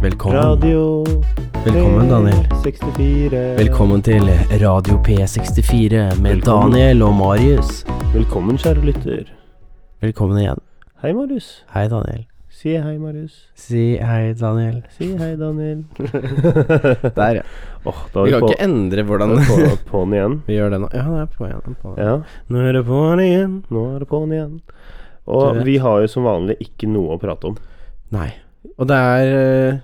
Velkommen. Radio Velkommen, Daniel. 64. Velkommen til Radio P64 med Velkommen. Daniel og Marius. Velkommen, kjære lytter. Velkommen igjen. Hei, Marius. Hei, Daniel. Si hei, Marius. Si hei, Daniel. Si hei, Daniel. Der, ja. Åh, da Vi er kan vi ikke endre på, hvordan da er vi på, på'n igjen. vi gjør det nå. Ja, det er på igjen. På igjen. Ja, Nå er det på'n igjen. nå er det på'n igjen. Du Og vet. vi har jo som vanlig ikke noe å prate om. Nei. Og det er øh,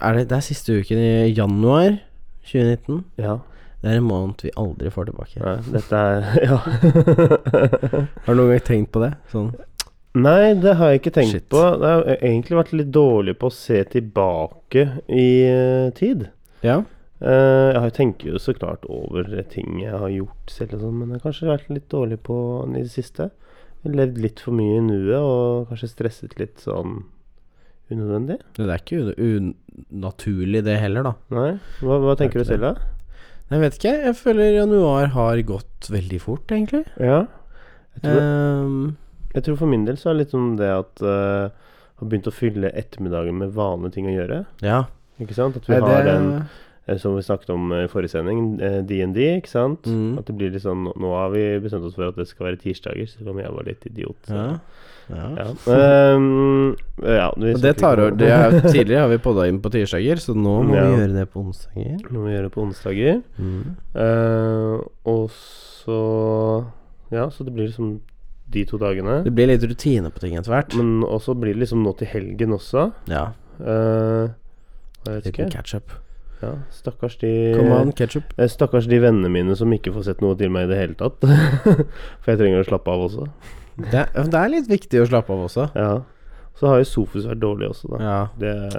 er det, det er siste uken i januar 2019. Ja, Det er en måned vi aldri får tilbake. nei, dette er Ja. Har du noen gang tenkt på det? Sånn. Nei, det har jeg ikke tenkt Shit. på. Jeg har egentlig vært litt dårlig på å se tilbake i eh, tid. Ja. Eh, jeg har- tenker jo så klart over ting jeg har gjort selv, og sånn, men jeg har kanskje vært litt dårlig på den i det siste. Jeg har Levd litt for mye i nuet og kanskje stresset litt sånn unødvendig. Det er ikke un- unaturlig det heller, da. Nei? Hva, hva Det er tenker du ikke selv, da? Jeg vet ikke. Jeg føler januar har gått veldig fort, egentlig. Ja. Jeg tror, Ehm, jeg tror for min del så er det litt sånn det at eh, jeg har begynt å fylle ettermiddagen med vanlige ting å gjøre. ja. Ikke sant? At vi Nei, har den eh, som vi snakket om eh, i forrige sending, eh, DND, ikke sant? Mm. At det blir litt sånn Nå har vi bestemt oss for at det skal være tirsdager, selv om jeg var litt idiot. så- ja. ja. Ja. Ehm, ja vi Og det snakker tar ikke over. om- Det er, tidligere har vi podda inn på tirsdager, så nå må Ja. vi gjøre det på onsdager. Noe vi gjør det på onsdager. Mm. Eh, og så Ja, så det blir liksom de to dagene. Det blir litt rutine på ting etter hvert. Men også blir det liksom nå til helgen også. Ja. Eh, jeg vet Liten ikke. ketchup. Ja, stakkars Come de on, ketchup. Eh, Stakkars de vennene mine som ikke får sett noe til meg i det hele tatt. For jeg trenger å slappe av også. Det, er- det er litt viktig å slappe av også. Ja. Så har jo Sofus vært dårlig også, da. Ja, Det,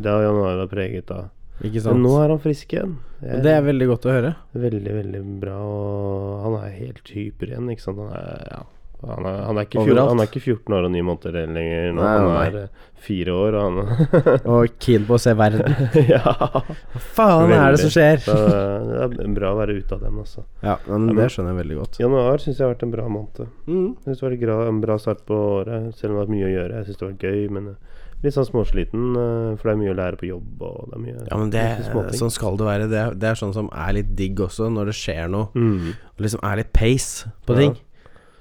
det har januar vært preget av. ikke sant. Men nå er han frisk igjen. Jeg- det er veldig godt å høre. Veldig, veldig bra. Og han er helt hyper igjen, ikke sant. Han er, ja. han er, han er, ikke, fjor, Overalt. han er ikke 14 år og 9 måneder lenger Nei, nå. nei, han er eh, fire år, og han Og keen på å se verden. Ja. Hva faen er det som skjer? Så eh, det er bra å være ute av den, altså. Ja, men det skjønner jeg veldig godt. Januar syns jeg har vært en bra måned. Mm. Jeg synes det var en gra- en bra start på året, selv om det har vært mye å gjøre. Jeg syns det var gøy, men eh, litt sånn småsliten, eh, for det er mye å lære på jobb, og det er mye Ja, men det, mye småting. sånn skal det være. Det, er- det er sånn som er litt digg også, når det skjer noe. mm. Og liksom er litt pace på Ja. ting.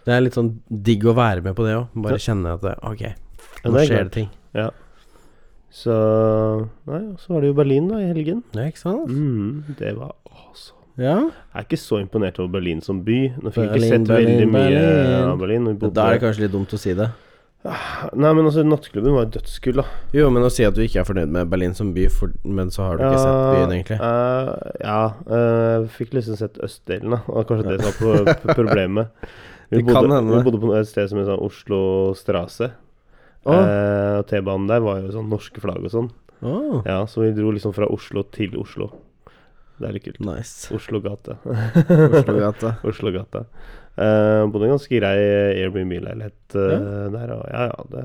Det er litt sånn digg å være med på det òg. Bare kjenne at det, ok, Ja, nå det er skjer det klart. ting. Så Nei, og så var det jo Berlin, da, i helgen. Ja, ikke sant? Mm, det var awesome. Ja. Jeg er ikke så imponert over Berlin som by. Nå fikk jeg Berlin, ikke sett Berlin, veldig mye Berlin. av Berlin. når Vi Men bodde Da er det kanskje litt dumt å si det. Nei, men altså, Nattklubben var jo dødskull, da. Jo, men å si at du ikke er fornøyd med Berlin som by, for, men så har du ikke sett byen, egentlig. eh, ja. eh, fikk liksom sett østdelen, da. Og kanskje det som var pro- p- problemet. Vi Det kan bodde, hende. vi bodde på et sted som het sånn Oslo Strasse. Å. Eh, og T-banen der var jo sånn norske flagg og sånn. Åh, Ja, Så vi dro liksom fra Oslo til Oslo. Det er litt kult. nice. Oslo gate. eh, Oslogata. Oslogata. Uh, bodde i en ganske grei Airbnb-leilighet eh, Ja. der. Og, ja, ja, det,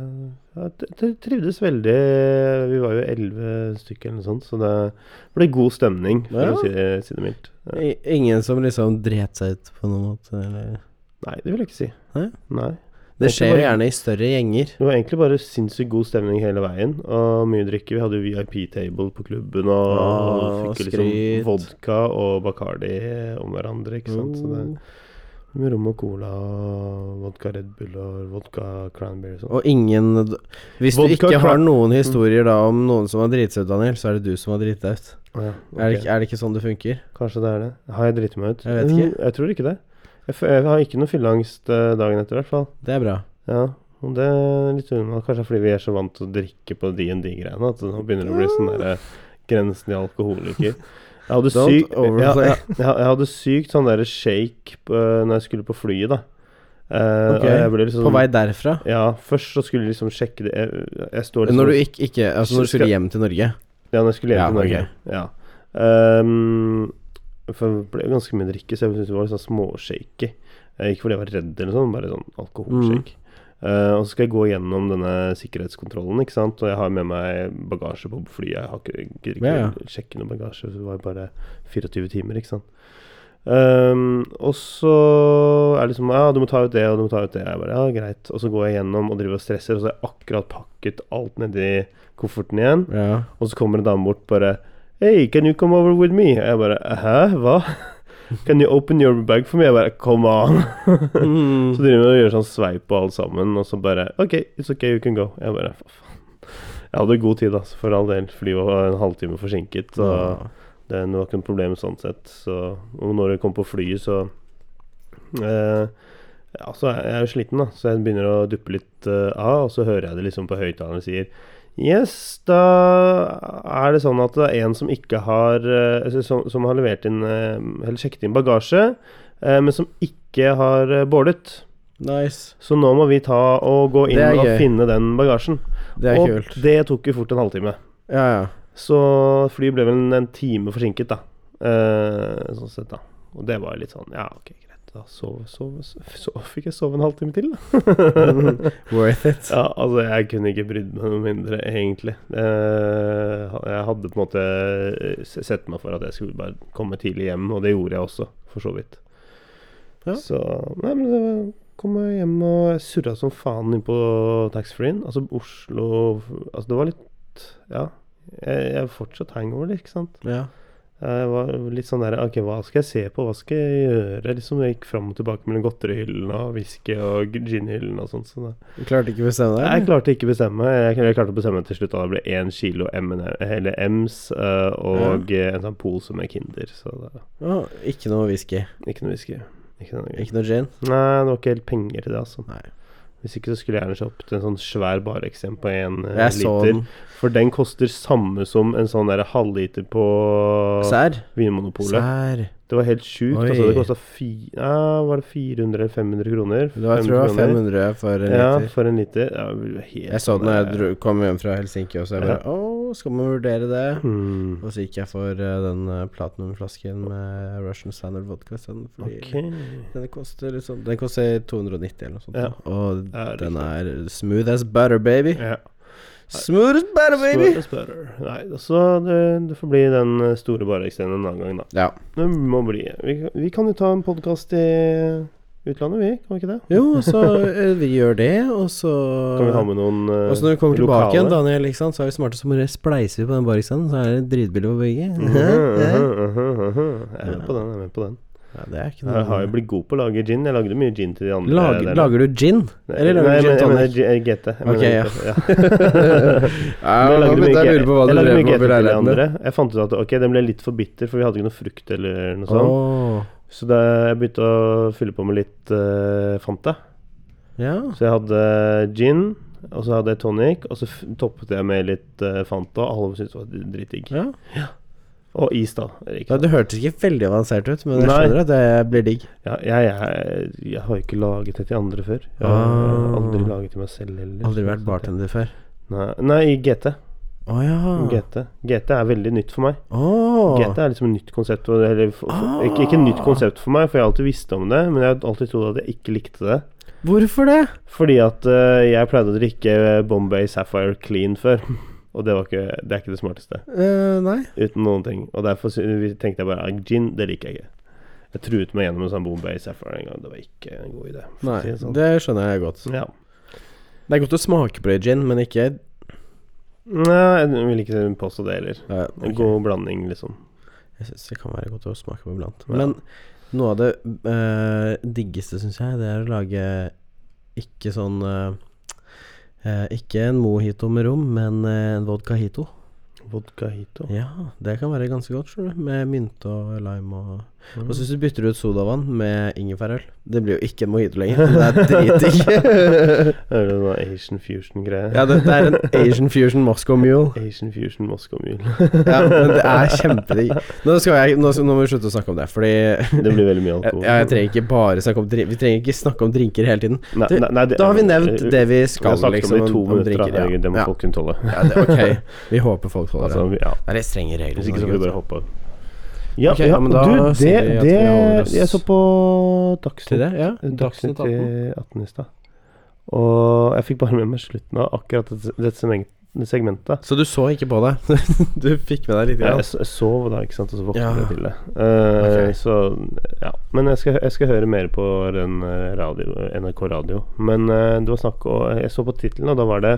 ja, det, det trivdes veldig. Vi var jo elleve stykker eller noe sånt, så det ble god stemning, for Ja. å si, si det mildt. Ja. I- Ingen som liksom dret seg ut på noen måte, eller Nei, det vil jeg ikke si. Nei? Nei. Det skjer jo gjerne i større gjenger. Det var egentlig bare sinnssykt god stemning hele veien, og mye drikke. Vi hadde jo VIP-table på klubben, og, Ja, og fikk jo skryt. liksom vodka og Bacardi om hverandre, ikke sant. Så Mm. det Med rom og cola og vodka Red Bull og vodka Cranberry og sånn. Og ingen Hvis du Vodka Mm. ikke har crack. noen historier da om noen som har driti seg ut, Daniel, så er det du som har driti deg ut. Ja, Er, det, ok. ikke- er det ikke sånn det funker? Kanskje det er det. Har jeg driti meg ut? Jeg vet ikke. Mm, Jeg tror ikke det. Jeg, fø- jeg har ikke noe fylleangst eh, dagen etter, i hvert fall. Det er bra. Ja, og det er litt unødvendig. Kanskje fordi vi er så vant til å drikke på DND-greiene at nå begynner det å bli sånn derre grensen i alkoholiker. Jeg hadde, Don't altså, syk, ja, overplay. ja, jeg, jeg hadde sykt sånn derre shake på, når jeg skulle på flyet, da. Eh, Ok. og jeg ble liksom, På vei derfra. Ja, først så skulle jeg liksom sjekke det Jeg, jeg står liksom Når du ikke, ikke Altså når du Skal- skulle hjem til Norge. Ja, når jeg skulle hjem Ja, til Norge. Ja. Ehm, for det ble jo ganske mye drikke, så jeg syntes det var litt sånn småshaky. Eh, Ikke fordi jeg var redd, eller sånn, bare sånn Mm. alkoholshake. Eh, og så skal jeg gå gjennom denne sikkerhetskontrollen, ikke sant? og jeg har med meg bagasje på flyet. Jeg har ikke, gidder ikke Ja, ja. sjekke noe bagasje, så det var bare 24 timer, ikke sant. Ehm, og så er det liksom Ja, du må ta ut det, og du må ta ut det. Jeg bare, ja, greit. Og så går jeg gjennom og driver og stresser, og så har jeg akkurat pakket alt nedi kofferten igjen. Ja. Og så kommer en dame bort bare Hey, can you come over with me? Og jeg bare Hæ, hva? Can you open your bag for me? Jeg bare Come on. Mm. Så driver vi og gjør sånn sveip og alt sammen, og så bare OK, it's OK, you can go. Jeg bare Hva faen. Jeg hadde god tid, altså, for all del. Flyet var en halvtime forsinket. Så det var ikke noe problem sånn sett. Så, og når jeg kom på flyet, så eh, Ja, så er jeg jo sliten, da, så jeg begynner å duppe litt eh, av, og så hører jeg det liksom på høyttaleren sier Yes, da er det sånn at det er en som ikke har eh, altså, som, som har levert inn eh, Eller sjekket inn bagasje, eh, men som ikke har eh, boardet. Nice. Så nå må vi ta og gå inn Det er og gøy. finne den bagasjen. Det er og kult. det tok jo fort en halvtime. Ja, ja. Så flyet ble vel en, en time forsinket, da. Eh, sånn sett, da. Og det var litt sånn Ja, ok, greit. Da sov, sov, sov, så fikk jeg sove en halvtime til, da. Worth it. Ja, altså, jeg kunne ikke brydd meg noe mindre, egentlig. Eh, jeg hadde på en måte eh, s- sett meg for at jeg skulle bare komme tidlig hjem, og det gjorde jeg også, for så vidt. Ja. Så Nei, men det var Kom meg hjem og jeg surra som faen inn på taxfree-en. Altså Oslo Altså, det var litt Ja. Jeg, jeg er fortsatt hangover, ikke sant. Ja. Jeg var litt sånn der Ok, hva skal jeg se på? Hva skal jeg gjøre? Liksom Jeg gikk fram og tilbake mellom godterihyllene og whisky og ginhyllene og sånt. Så det. Du klarte ikke å bestemme deg? Jeg klarte ikke å bestemme. Jeg, jeg klarte å bestemme til slutt. Da det ble én kilo M&M eller M's eh, og eh, en sånn pose med Kinder. Så det Å, ikke noe whisky? ikke noe whisky. Ikke noe gøy. Ikke noe gin? Nei, det var ikke helt penger til det, altså. Nei. Hvis ikke så skulle jeg gjerne kjøpt en sånn svær bareksem på én Jeg så liter. den. For den koster samme som en sånn der halvliter på Sær? Vinmonopolet. Sær. Det var helt sjukt. Oi. Altså, det kosta fi... Ja, var det 400 eller 500 kroner? Det var, jeg tror det var 500 for en Ja, liter. for en liter. Ja, helt Jeg så den da jeg sånn, dro, kom hjem fra Helsinki også. Jeg bare Å, skal man vurdere det? Hmm. Og så gikk jeg for eh, den eh, platinumflasken med Russian Standard Vodka. Sånn, fordi Ok. Den koster liksom Den koster 290 eller noe sånt. Ja. da. Og Ja, riktig. den er smooth as butter, baby. Ja. Smooth as butter, baby! Spør- spør. Nei, altså det, det får bli den store bareekstenen en annen gang, da. Ja. Det må bli Vi, vi kan jo ta en podkast i utlandet, vi? Kan vi ikke det? Jo, så eh, vi gjør det, og så Kan vi ha med noen eh, Og så når vi kommer tilbake igjen, lokale? Daniel, ikke sant, så er vi smarte, så bare spleiser vi på den barikstanden, så er det dritbillig på begge. Mhm, mhm, mhm. Jeg er med på den. Jeg er med på den Ja, det er ikke Jeg har noe jo blitt god på å lage gin. Jeg lagde mye gin til de andre. Lager, der. lager du gin? Eller lager Nei, du gin men- tonic? men gi- eh, GT. Jeg Ok, mener ja. GT, ja. Ja, Men jeg lagde nå mye begynte jeg å G- lure på hva jeg du lagde drev mye med GT på til de leiligheten. andre. Jeg fant ut at ok, den ble litt for bitter, for vi hadde ikke noe frukt eller noe sånn. sånt. Åh. Så da jeg begynte å fylle på med litt eh, Fanta. Ja. Så jeg hadde gin, og så hadde jeg tonic, og så f toppet jeg med litt eh, Fanta. og Alle syntes det var dritdigg. ja. Og is, da. Ikke ja sant? det hørtes ikke veldig avansert ut, men jeg Nei. skjønner at det blir digg. Ja, jeg, jeg, jeg har ikke laget det til andre før. Jeg har Ah. aldri laget til meg selv heller. Aldri Så- vært bartender Ah. før. Nei, nei, i GT. Å ja. GT. GT er veldig nytt for meg. Åh. GT er liksom et nytt konsept. og- Eller, f- f- Ah. ikke, ikke et nytt konsept for meg, for jeg har alltid visst om det, men jeg har alltid trodd at jeg ikke likte det. Hvorfor det? Fordi at eh, jeg pleide å drikke Bombay Sapphire Clean før. Og det, var ikke, det er ikke det smarteste. Eh, nei. Uten noen ting. Og derfor sy- tenkte jeg bare at gin, det liker jeg ikke. Jeg truet meg gjennom en sånn Bombay Sapphire en gang. Det var ikke en god idé. for å nei. si det sånn. Det skjønner jeg godt. Ja. Det er godt å smake på det i gin, men ikke Nei, jeg vil ikke påstå det heller. eh, En ok. god blanding, liksom. Jeg syns det kan være godt å smake på iblant. Ja. Men noe av det eh, diggeste, syns jeg, det er å lage ikke sånn eh, eh, Ikke en mojito med rom, men eh, en vodka hito. Vodka hito. Ja, det kan være ganske godt, skjønner du. Med mynte og lime og Mm. Og så hvis du bytter ut sodavann med ingefærøl Det blir jo ikke en mojito lenger. men Det er dritdigg. Er det noe Asian fusion-greie? ja, det, det er en Asian fusion Moscow mule. Asian fusion Moscow Mule. Ja, men det er kjempedigg. Nå, skal jeg- nå, skal- nå må vi slutte å snakke om det, fordi Det blir veldig mye Ja, alkohol. jeg trenger ikke bare snakke om drin- Vi trenger ikke snakke om drinker hele tiden. Nei, Du, nei, nei, det- Da har vi nevnt Vi- det vi Vi har skal, snakket liksom, om det i om, to om minutter. da. drinker. Ja. Herregud, Det må Ja. folk kunne tåle. Ja, det, ok, vi håper folk tåler Altså, det. vi- ja. Det er litt strenge regler. sånn Hvis i ikke så får vi Norge, bare hoppe av. Ja, Ok, ja, ja, men da du, det, sier vi at vi holder oss det Jeg så på altså. Til Dagsnytt det, ja. Dagsnytt 18 i stad. Og jeg fikk bare med meg slutten av akkurat dette, dette segment- segmentet. Så du så ikke på det? du fikk med deg litt? Ja, Grann. jeg, s- jeg sov da, ikke sant, og så våknet Ja. jeg til det. Eh, Ok. Så ja. Men jeg skal, jeg skal høre mer på den eh, radio, NRK Radio. Men eh, det var snakk om Jeg så på tittelen, og da var det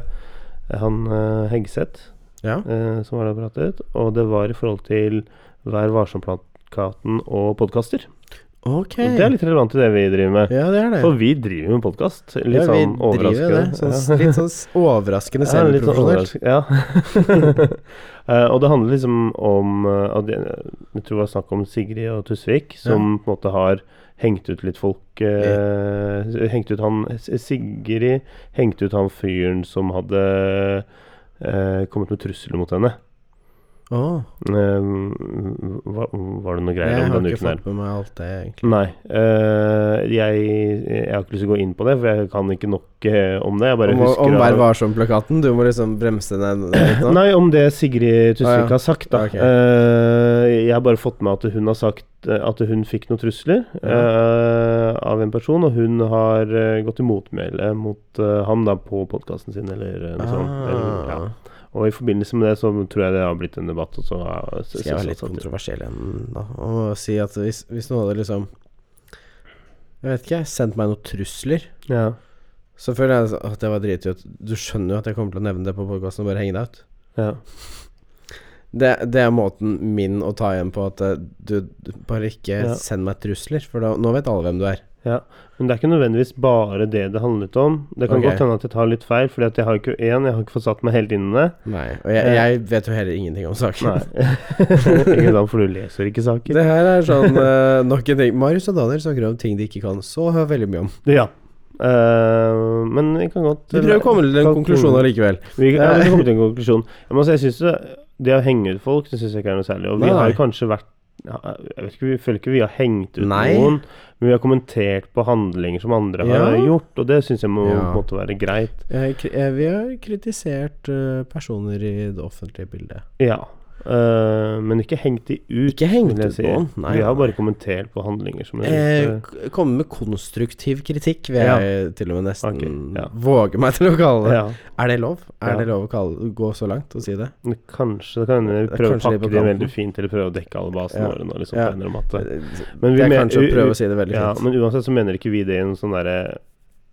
han eh, Hegseth Ja. eh, som var der og pratet. Og det var i forhold til Vær varsom-plakaten og podkaster. Ok. Det er litt relevant til det vi driver med. Ja, det er det. For vi driver jo med podkast. Litt ja, vi sånn driver jo overraskende. det. Sånn, Ja. s- Litt sånn s- overraskende Ja, litt sånn semiprofesjonelt. overraskende. Ja. Eh, og det handler liksom om eh, at jeg, jeg tror det var snakk om Sigrid og Tusvik, som på en måte har hengt ut litt folk. eh, hengt ut han Sigrid hengte ut han fyren som hadde eh, kommet med trusler mot henne. Åh, Eh, hva, var det noe jeg greier om har denne ikke uken her? fått med meg alt det, egentlig. Nei. eh, jeg, jeg har ikke lyst til å gå inn på det, for jeg kan ikke nok eh, om det. Jeg bare Om, husker om av- Vær varsom-plakaten. Du må liksom bremse ned litt nå. Nei, om det Sigrid Tusvik Ah, ja. har sagt, da. Ok. Eh, jeg har bare fått med at hun har sagt eh, at hun fikk noen trusler eh, av en person, og hun har eh, gått i motmæle mot eh, ham da på podkasten sin, eller eh, noe sånt. Eller, ja. Ah, Og i forbindelse med det så tror jeg det har blitt en debatt. Og så, ja, så- skal jeg så- være litt så- kontroversiell igjen, da? Og si at hvis, hvis noen hadde liksom Jeg vet ikke, sendt meg noen trusler ja. så føler jeg at det var dritgodt. Du skjønner jo at jeg kommer til å nevne det på podkasten og bare henge deg ut. Ja. Det, det er måten min å ta igjen på at eh, du du bare ikke Ja. send meg trusler, for da, nå vet alle hvem du er. Men det er ikke nødvendigvis bare det det handlet om. Det kan Ok. godt hende at jeg tar litt feil, for jeg har jo ikke én, jeg har ikke fått satt meg helt inn i det. Nei, og jeg, Eh. jeg vet jo heller ingenting om saken. Nei. ikke sant, for du leser ikke saker. Det her er sånn eh, nok en ting. Marius og Daniel snakker om ting de ikke kan så veldig mye om. Ja. Eh, men vi kan godt Vi prøver å komme til en kan- konklusjon allikevel. Vi, ja, vi kan komme til en konklusjon. Jeg må si, jeg synes det, det å henge ut folk, det syns jeg ikke er noe særlig. Og vi Nei, har nei. jo kanskje vært ja, jeg vet ikke, Vi føler ikke vi har hengt ut Nei. noen, men vi har kommentert på handlinger som andre har Ja. gjort, og det syns jeg må Ja. på en måte være greit. Eh, kri- eh, Vi har kritisert eh, personer i det offentlige bildet. Ja. Eh, men ikke hengt de ut, Ikke hengt vil ut jeg noen. Nei, vi har nei. bare kommentert på handlinger som jeg Eh, synes, k- komme med konstruktiv kritikk, vil Ja. jeg til og med nesten Ok, ja. våge meg til å kalle eh, det. ja. Er det lov? Er Ja. det lov å kalle, gå så langt og si det? Men Kanskje det kan hende Det vi er prøver å kanskje litt pakke på det kanten. veldig fint, eller prøve å dekke alle basene Ja. våre nå, liksom, Ja. på en eller annen måte. Det Men vi er men- kanskje u- å prøve u- å si det veldig Ja, fint. men uansett så mener ikke vi det i en sånn derre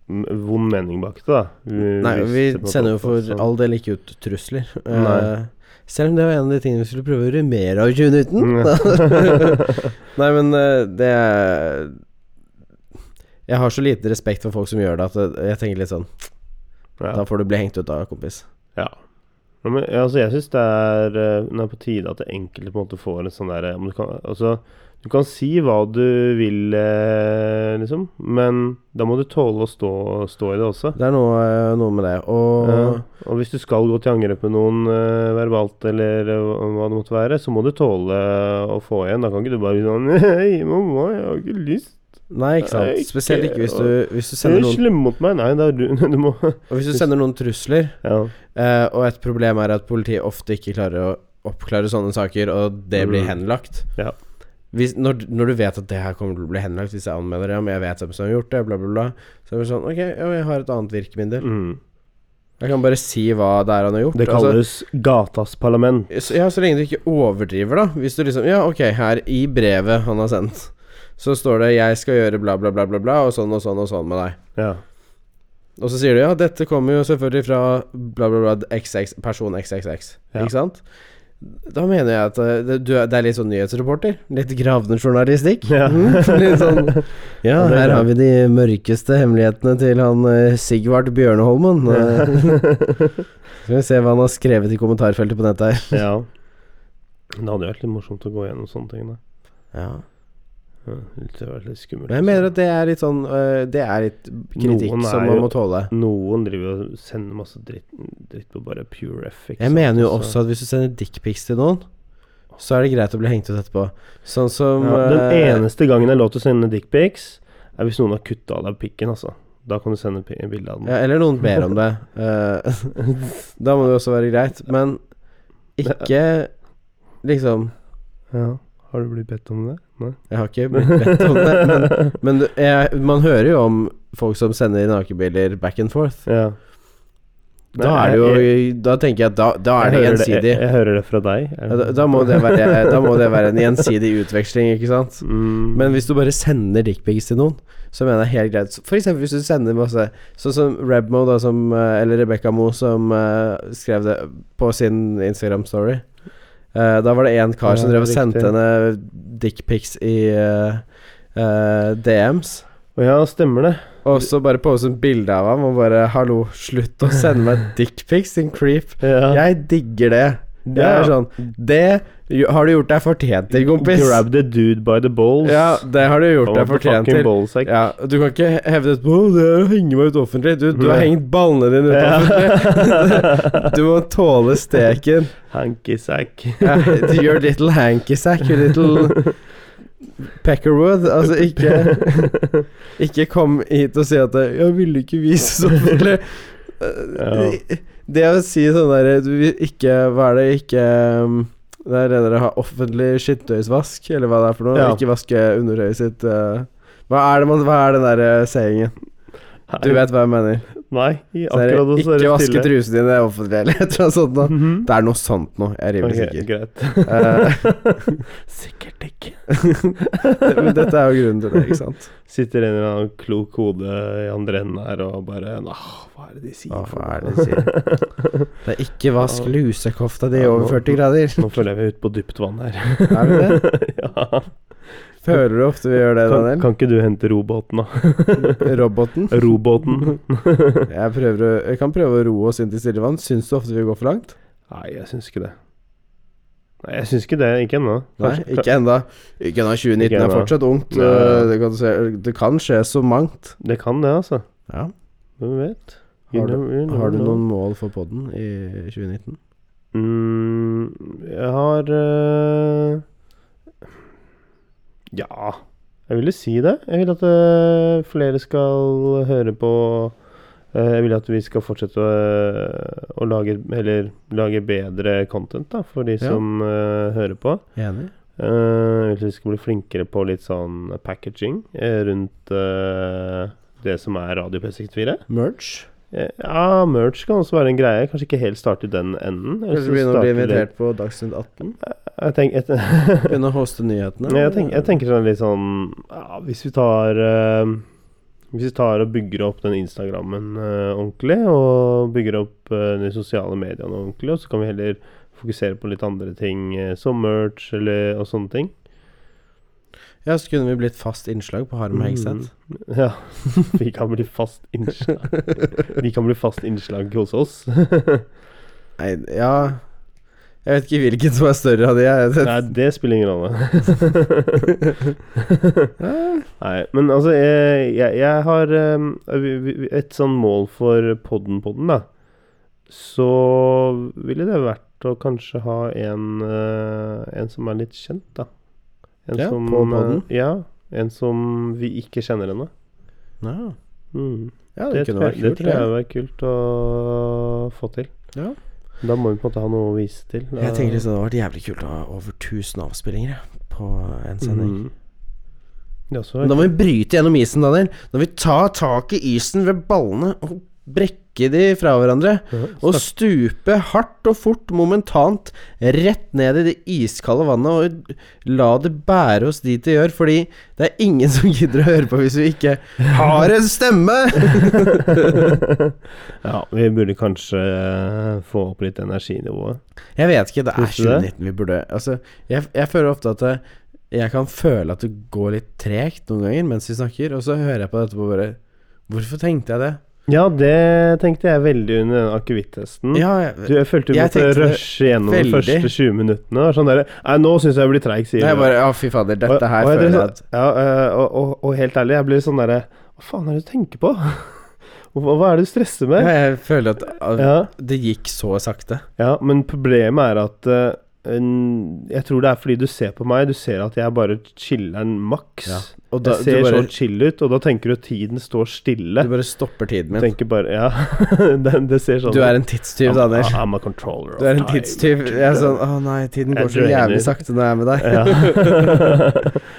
mm, vond mening bak det, da. Vi, Nei, vi setter noe sender jo opp, for altså. all del ikke ut trusler. Eh, Nei. selv om det var en av de tingene vi skulle prøve å gjøre mer av i 2019. Mm. Nei, men eh, det er Jeg har så lite respekt for folk som gjør det, at eh, jeg tenker litt sånn ja. Da får du bli hengt ut da, kompis. ja. Ja, Men, altså, jeg syns det er eh, nå er på tide at det enkelte på en måte får en sånn derre om du kan- Altså, du kan si hva du vil, eh, liksom, men da må du tåle å stå, stå i det også. Det er noe, eh, noe med det. Og Ja, og hvis du skal gå til angrep med noen eh, verbalt eller eh, hva- hva det måtte være, så må du tåle eh, å få igjen. Da kan ikke du bare si sånn Nei, mamma, jeg har ikke lyst. Nei, ikke sant. Nei, ikke- Spesielt ikke hvis du, hvis du Du sender er noen slem mot meg. Nei, da er du, du må Og hvis du sender noen trusler, ja. eh, og et problem er at politiet ofte ikke klarer å oppklare sånne saker, og det blir Mm. henlagt Ja. hvis, når, d- når du vet at det her kommer til å bli henlagt hvis jeg anmelder det, om jeg vet hvem som har gjort det, bla, bla, bla, så er det sånn Ok, ja, jeg har et annet virkemiddel. mm. Jeg kan bare si hva det er han har gjort. Det altså. kalles gatas parlament. Så- Ja, så lenge du ikke overdriver, da. Hvis du liksom Ja, ok, her i brevet han har sendt, så står det 'Jeg skal gjøre bla, bla, bla, bla, bla', og sånn og sånn og sånn med deg. Ja. Og så sier du ja, dette kommer jo selvfølgelig fra bla, bla, bla, XX, person XXX. Ja. Ikke sant? Da mener jeg at eh, det, du, er- det er litt sånn nyhetsreporter. Litt gravende journalistikk. Ja. Mm, litt sånn Ja, Ja, det er her bra. har vi de mørkeste hemmelighetene til han eh, Sigvart Bjørneholmen. Eh, Skal vi se hva han har skrevet i kommentarfeltet på nettet her. ja. Det hadde jo vært litt morsomt å gå gjennom sånne ting, da. Ja. Ja, Det hadde vært litt skummelt. Men jeg mener at det er litt sånn eh, Det er litt kritikk Noen er som man jo- må tåle. Noen driver og sender masse dritt, dritt på bare pure altså. F. ikke Jeg sant? mener jo Og så- også at hvis du sender dickpics til noen, så er det greit å bli hengt ut etterpå. Sånn som ja, Den eh, eneste gangen det er lov til å sende dickpics, er hvis noen har kutta av deg pikken, altså. Da kan du sende pi- bilde av den. ja, Eller noen ber om det. Eh, da må det jo også være greit. Men ikke liksom Ja. Har du blitt bedt om det? Nei. Jeg har ikke blitt bedt om det, men, men du- jeg, man hører jo om folk som sender nakenbilder back and forth. Ja. Da er det jo Da tenker jeg at da, da er det eh, Jeg hører gjensidig. Jeg, jeg hører det fra deg. Er Ja, Da, det- da, må det være, da må det være en gjensidig utveksling, ikke sant? Mm. Men hvis du bare sender dickpics til noen, så mener jeg det er helt greit. For eksempel hvis du sender masse Sånn som Rebmo, da, som eh, Eller Rebekka Mo, som eh, skrev det på sin Instagram-story. Eh, da var det én kar Ja, som drev og riktig. sendte henne dickpics i eh, eh, DMs. Å ja, stemmer det. Og så bare poste et bilde av ham og bare 'Hallo, slutt å sende meg dickpics, din creep'. Ja. Jeg digger det. Jeg Ja. er sånn Det jo- har du gjort deg fortjent til, kompis. Grab the dude by the balls. Ja, det har du gjort Grab deg the fortjent fucking til. ballsack. Ja, og du kan ikke hevde etterpå «Å, det er å henge meg ut offentlig. Du, du har Nei. hengt ballene dine ut offentlig. du må tåle steken. Hanky sack. Ja, your little hankysack, your little Peckerwood. Altså, ikke Ikke kom hit og si at 'jeg ville ikke vises offentlig'. Ja. Det å si sånn derre Du vil ikke Hva er det ikke um, Det er det dere har offentlig skittøysvask, eller hva det er for noe. Ja. Ikke vaske undertøyet sitt. eh. hva er det man Hva er den der eh, sayingen? Du vet hva jeg mener. Nei, i Så er det, akkurat nå så er ikke det vaske stille. trusene dine offentlig, eller et eller annet sånt noe. Mhm. Det Eh. er noe sånt noe. Jeg er rimelig Ok, sikker. greit. Sikkert ikke. Eh, Men Dette er jo grunnen til det, ikke sant? Sitter en eller annen klok hode i andre enden her og bare Åh, hva er det de sier? Åh, for hva er noe?» det de Det er ikke vask Ja. lusekofta di Ja, nå- over 40 grader. Nå føler jeg vi er ute på dypt vann her. Er vi det? ja. Føler du ofte vi gjør det, kan, Daniel? kan ikke du hente robåten, da? Roboten? Robåten? Jeg, prøver, å- jeg kan prøve å roe oss inn til stille vann. Syns du ofte vi går for langt? Nei, jeg syns ikke det. Nei, jeg syns ikke det. Ikke ennå. Nei, Kanskje- ikke enda. Ikke enda. 2019 Ikke er ennå. fortsatt ungt. Nei. Eh, Det kan, se- det kan skje så mangt. Det kan det, altså. Ja. Hvem vet? You Har du, never- you never har du know. noen mål for poden i 2019? Mm, jeg har eh, Ja, jeg ville si det. Jeg vil at eh, flere skal høre på eh, Jeg vil at vi skal fortsette å, eh, å lage, eller, lage bedre content da, for de Ja. som eh, hører på. Enig. Eh, Jeg vil at vi skal bli flinkere på litt sånn packaging eh, rundt eh, det som er Radio P64. Merch? Eh, Ja, merch kan også være en greie. Kanskje ikke helt starte i den enden. eller Kanskje så begynne å bli starte litt- Eh, invitert på Dagsnytt 18? Jeg, tenk, jeg, jeg, Begynne å hoste nyhetene? tenk, jeg tenker sånn litt sånn ja, Hvis vi tar eh, Hvis vi tar og bygger opp den Instagrammen eh, ordentlig, og bygger opp eh, de sosiale mediene ordentlig, og så kan vi heller fokusere på litt andre ting, eh, som merch eller, og sånne ting. Ja, så kunne vi blitt fast innslag på Harm Hegseth. Mm. Ja. Vi kan bli fast innslag Vi kan bli fast innslag hos oss. Nei, ja Jeg vet ikke hvilken som er større av de. Jeg, Nei, det spiller ingen rolle. Nei, men altså, jeg, jeg, jeg har um, vi- vi- et sånn mål for podden-podden, da. Så ville det vært å kanskje ha en, eh, en som er litt kjent, da. En Ja, som, på podden? eh, Ja, en som vi ikke kjenner ennå. ja. Mm. ja, det, Det, kunne tror vært jeg, det kult. tror jeg hadde vært kult å få til. Ja. Da må vi på en måte ha noe å vise til. da. Jeg tenker liksom det hadde vært jævlig kult å ha over 1000 avspillinger jeg, på en sending. Mm. Det er også Men Da må vi bryte gjennom isen, Daniel. Da må vi ta tak i isen ved ballene og brekke de fra hverandre. Ja, Og stupe hardt og fort, momentant, rett ned i det iskalde vannet og la det bære oss dit det gjør, fordi det er ingen som gidder å høre på hvis vi ikke har en stemme! Ja, vi burde kanskje eh, få opp litt energinivået. Jeg vet ikke, det er Synes du det? 2019 vi burde Altså, jeg, jeg føler ofte at det, jeg kan føle at det går litt tregt noen ganger mens vi snakker, og så hører jeg på dette og bare Hvorfor tenkte jeg det? Ja, det tenkte jeg veldig under den akevitt-testen. Ja, Du, jeg, jeg følte du Jeg måtte tenkte det rushe gjennom veldig. de første 20 minuttene. og Sånn derre Nei, nå syns jeg jeg blir treig, sier Nei, jeg du. bare Ja, fy fader, dette her og, og, føler jeg blir jeg sånn- at ja, eh, og, og, og helt ærlig, jeg blir sånn derre Hva faen er det du tenker på? Hva, hva er det du stresser med? ja, Jeg føler at ah, Ja, det gikk så sakte. ja men problemet er at eh, en- jeg tror det er fordi du ser på meg, du ser at jeg bare chiller'n maks. Ja. Og da, du, jeg ser bare, så chill ut, og da tenker du at tiden står stille. sånn, du bare stopper tiden Du min. tenker bare Ja, det, det ser sånn Du er en tidstyv, Daniel. I'm, I'm a controller of Du er en time. tidstyv. Jeg er sånn Å nei, tiden går så jævlig sakte når jeg er med deg. Ja.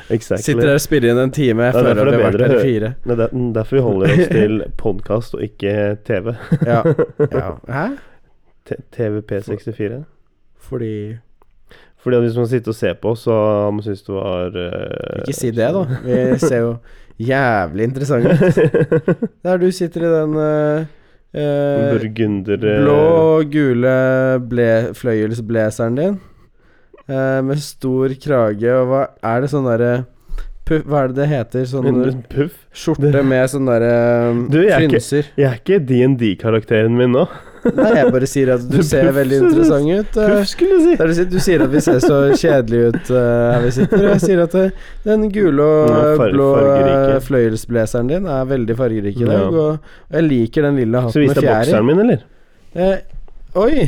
exactly. Sitter der og spiller inn en time. Jeg Det er føler derfor at vi det er har vært bedre der i å fire. Nei, det er derfor vi holder oss til podkast og ikke TV. Ja. ja. Hæ? T- TV P64. Fordi Fordi at hvis man sitter og ser på, så har man syntes det var eh, Ikke si det, da. Eh, Vi ser jo jævlig interessante ut. Der du sitter i den eh, eh, Burgunder eh, blå og gule ble, fløyelsblazeren din. eh, med stor krage og hva er det sånn derre pu- Hva er det det heter? Sånn en Puff. skjorte med sånn derre um, Du, jeg er ikke- frynser. Jeg er ikke DND-karakteren min nå. Nei, jeg bare sier at du Du ser puffer. veldig interessant ut. eh. Puff, skulle jeg si. Der du, sitter, du sier at vi ser så kjedelige ut eh, her vi sitter. Og jeg sier at eh, den gule og Ja, far- blå fargerike. eh, fløyelsblazeren din er veldig fargerik i dag. Ja. Og jeg liker den lilla Så hatten vis med deg fjær i. bokseren min, eller? Eh, oi!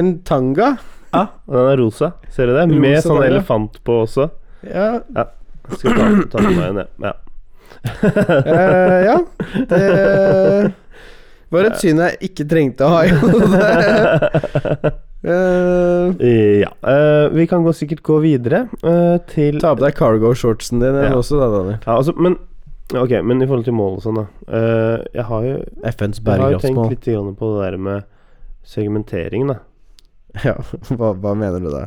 En tanga? Ja. Og den er rosa. Ser du det? Med Rosa sånn der, ja. elefant på også. Ja. Jeg skal ta, ta med meg en, jeg. ja. eh, ja. Det var et syn jeg ikke trengte å ha i hodet. Eh, Ja. eh, vi kan gå, sikkert gå videre eh, til ta på deg cargo-shortsen din Ja. også, da, Daniel. Ja, altså, men Ok, men i forhold til mål og sånn, da. eh, jeg har jo, FNs jeg har jo tenkt bærekraftsmål. litt grann på det der med segmentering, da. Ja, hva, hva mener du da?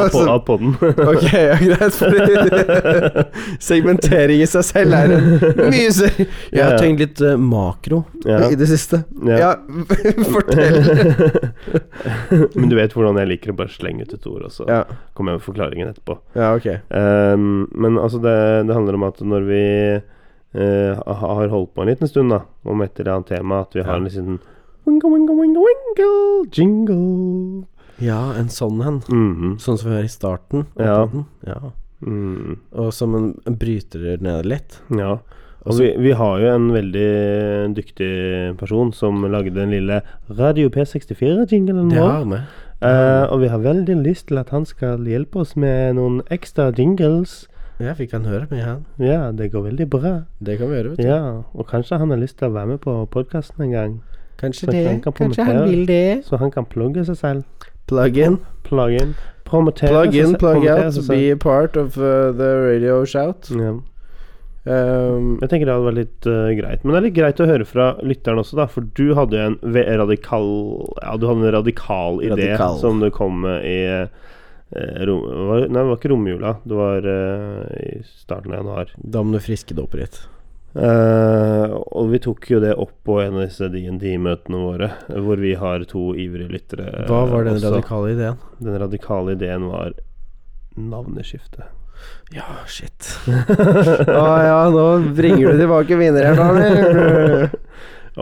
Av på, av podden. Ok, ja, greit. Fordi segmentering i seg selv er en mye større Jeg har Ja. tenkt litt eh, makro Ja. i det siste. ja. Ja, fortell. men du vet hvordan jeg liker å bare slenge ut et ord, og så Ja. kommer jeg med forklaringen etterpå. ja, ok. Ehm, men altså, det, det handler om at når vi eh, ha- har holdt på en liten stund, da, om et eller annet tema, at vi har Ja. en liten wingle, wingle, wingle, wingle, jingle. Ja, en sånn en. Mhm. Sånn som vi har i starten. av Ja. podden. ja. Mm. Og som en, en bryter ned litt. Ja. Altså- Og vi, vi har jo en veldig dyktig person som lagde den lille Radio P64-jinglen Det vår. har med. Eh, og vi har veldig lyst til at han skal hjelpe oss med noen ekstra jingles. Ja, vi kan høre med han. Ja, det går veldig bra. Det kan vi gjøre, vet du. Ja, Og kanskje han har lyst til å være med på podkasten en gang. Kanskje Så det. han kan Kanskje promotere. han vil det. Så han kan plugge seg selv. Plug in. Plug in. Promotere Plug in, seg selv- plug promotere out. seg selv. Be a part of uh, the radio shout. Ja. Um, Jeg tenker det hadde vært litt eh, greit. Men det er litt greit å høre fra lytteren også, da. For du hadde jo en ve- radikal Ja, du hadde en radikal idé Radikal. som du kom med i eh, rom, var, Nei, det var ikke romjula. Det var eh, i starten av januar. da må du friske det opp litt. Eh, og vi tok jo det opp på en av disse D&D-møtene våre, hvor vi har to ivrige lyttere. eh, Hva var den også. radikale ideen? Den radikale ideen var navneskifte. Ja, shit. Å Ah, ja, nå bringer du tilbake vinner her, Daniel.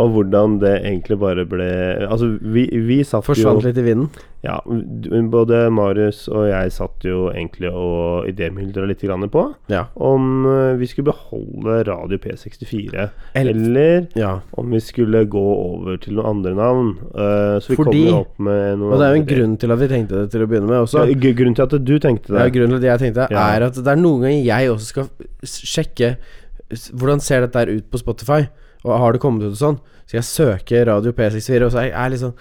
Og hvordan det egentlig bare ble Altså, vi, vi satt jo Forsvant litt i vinden. Ja, du- både Marius og jeg satt jo egentlig og idémyldra litt grann på Ja. om eh, vi skulle beholde Radio P64, Eller- eller ja. om vi skulle gå over til noen andre navn. Eh, så vi kom Fordi- jo opp med noen Og det er jo en andre- grunn til at vi tenkte det til å begynne med også. Ja, gr- grunnen til at du tenkte Ja, det. grunnen til at jeg tenkte, Ja. er at det er noen ganger jeg også skal s- sjekke s- hvordan ser dette her ut på Spotify, og har det kommet ut og sånn. Så jeg søker Radio P64, og så er jeg- jeg er litt sånn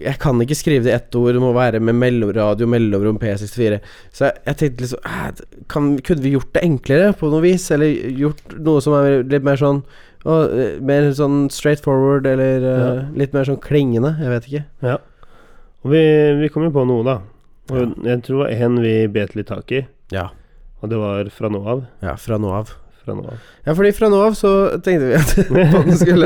Jeg kan ikke skrive det i ett ord, det må være med mellomradio, mellomrom P64. Så jeg, jeg tenkte liksom "Æ, kan, Kunne vi gjort det enklere på noe vis, eller gjort noe som er litt mer sånn å, eh, mer sånn straight forward, eller eh, litt mer sånn klingende? Jeg vet ikke. Og vi, vi kom jo på noe, da. Og jeg tror det var en vi bet litt tak i, Ja. og det var fra nå av. ja fra nå av. Fra nå av. Ja, fordi fra nå av så tenkte vi at podden skulle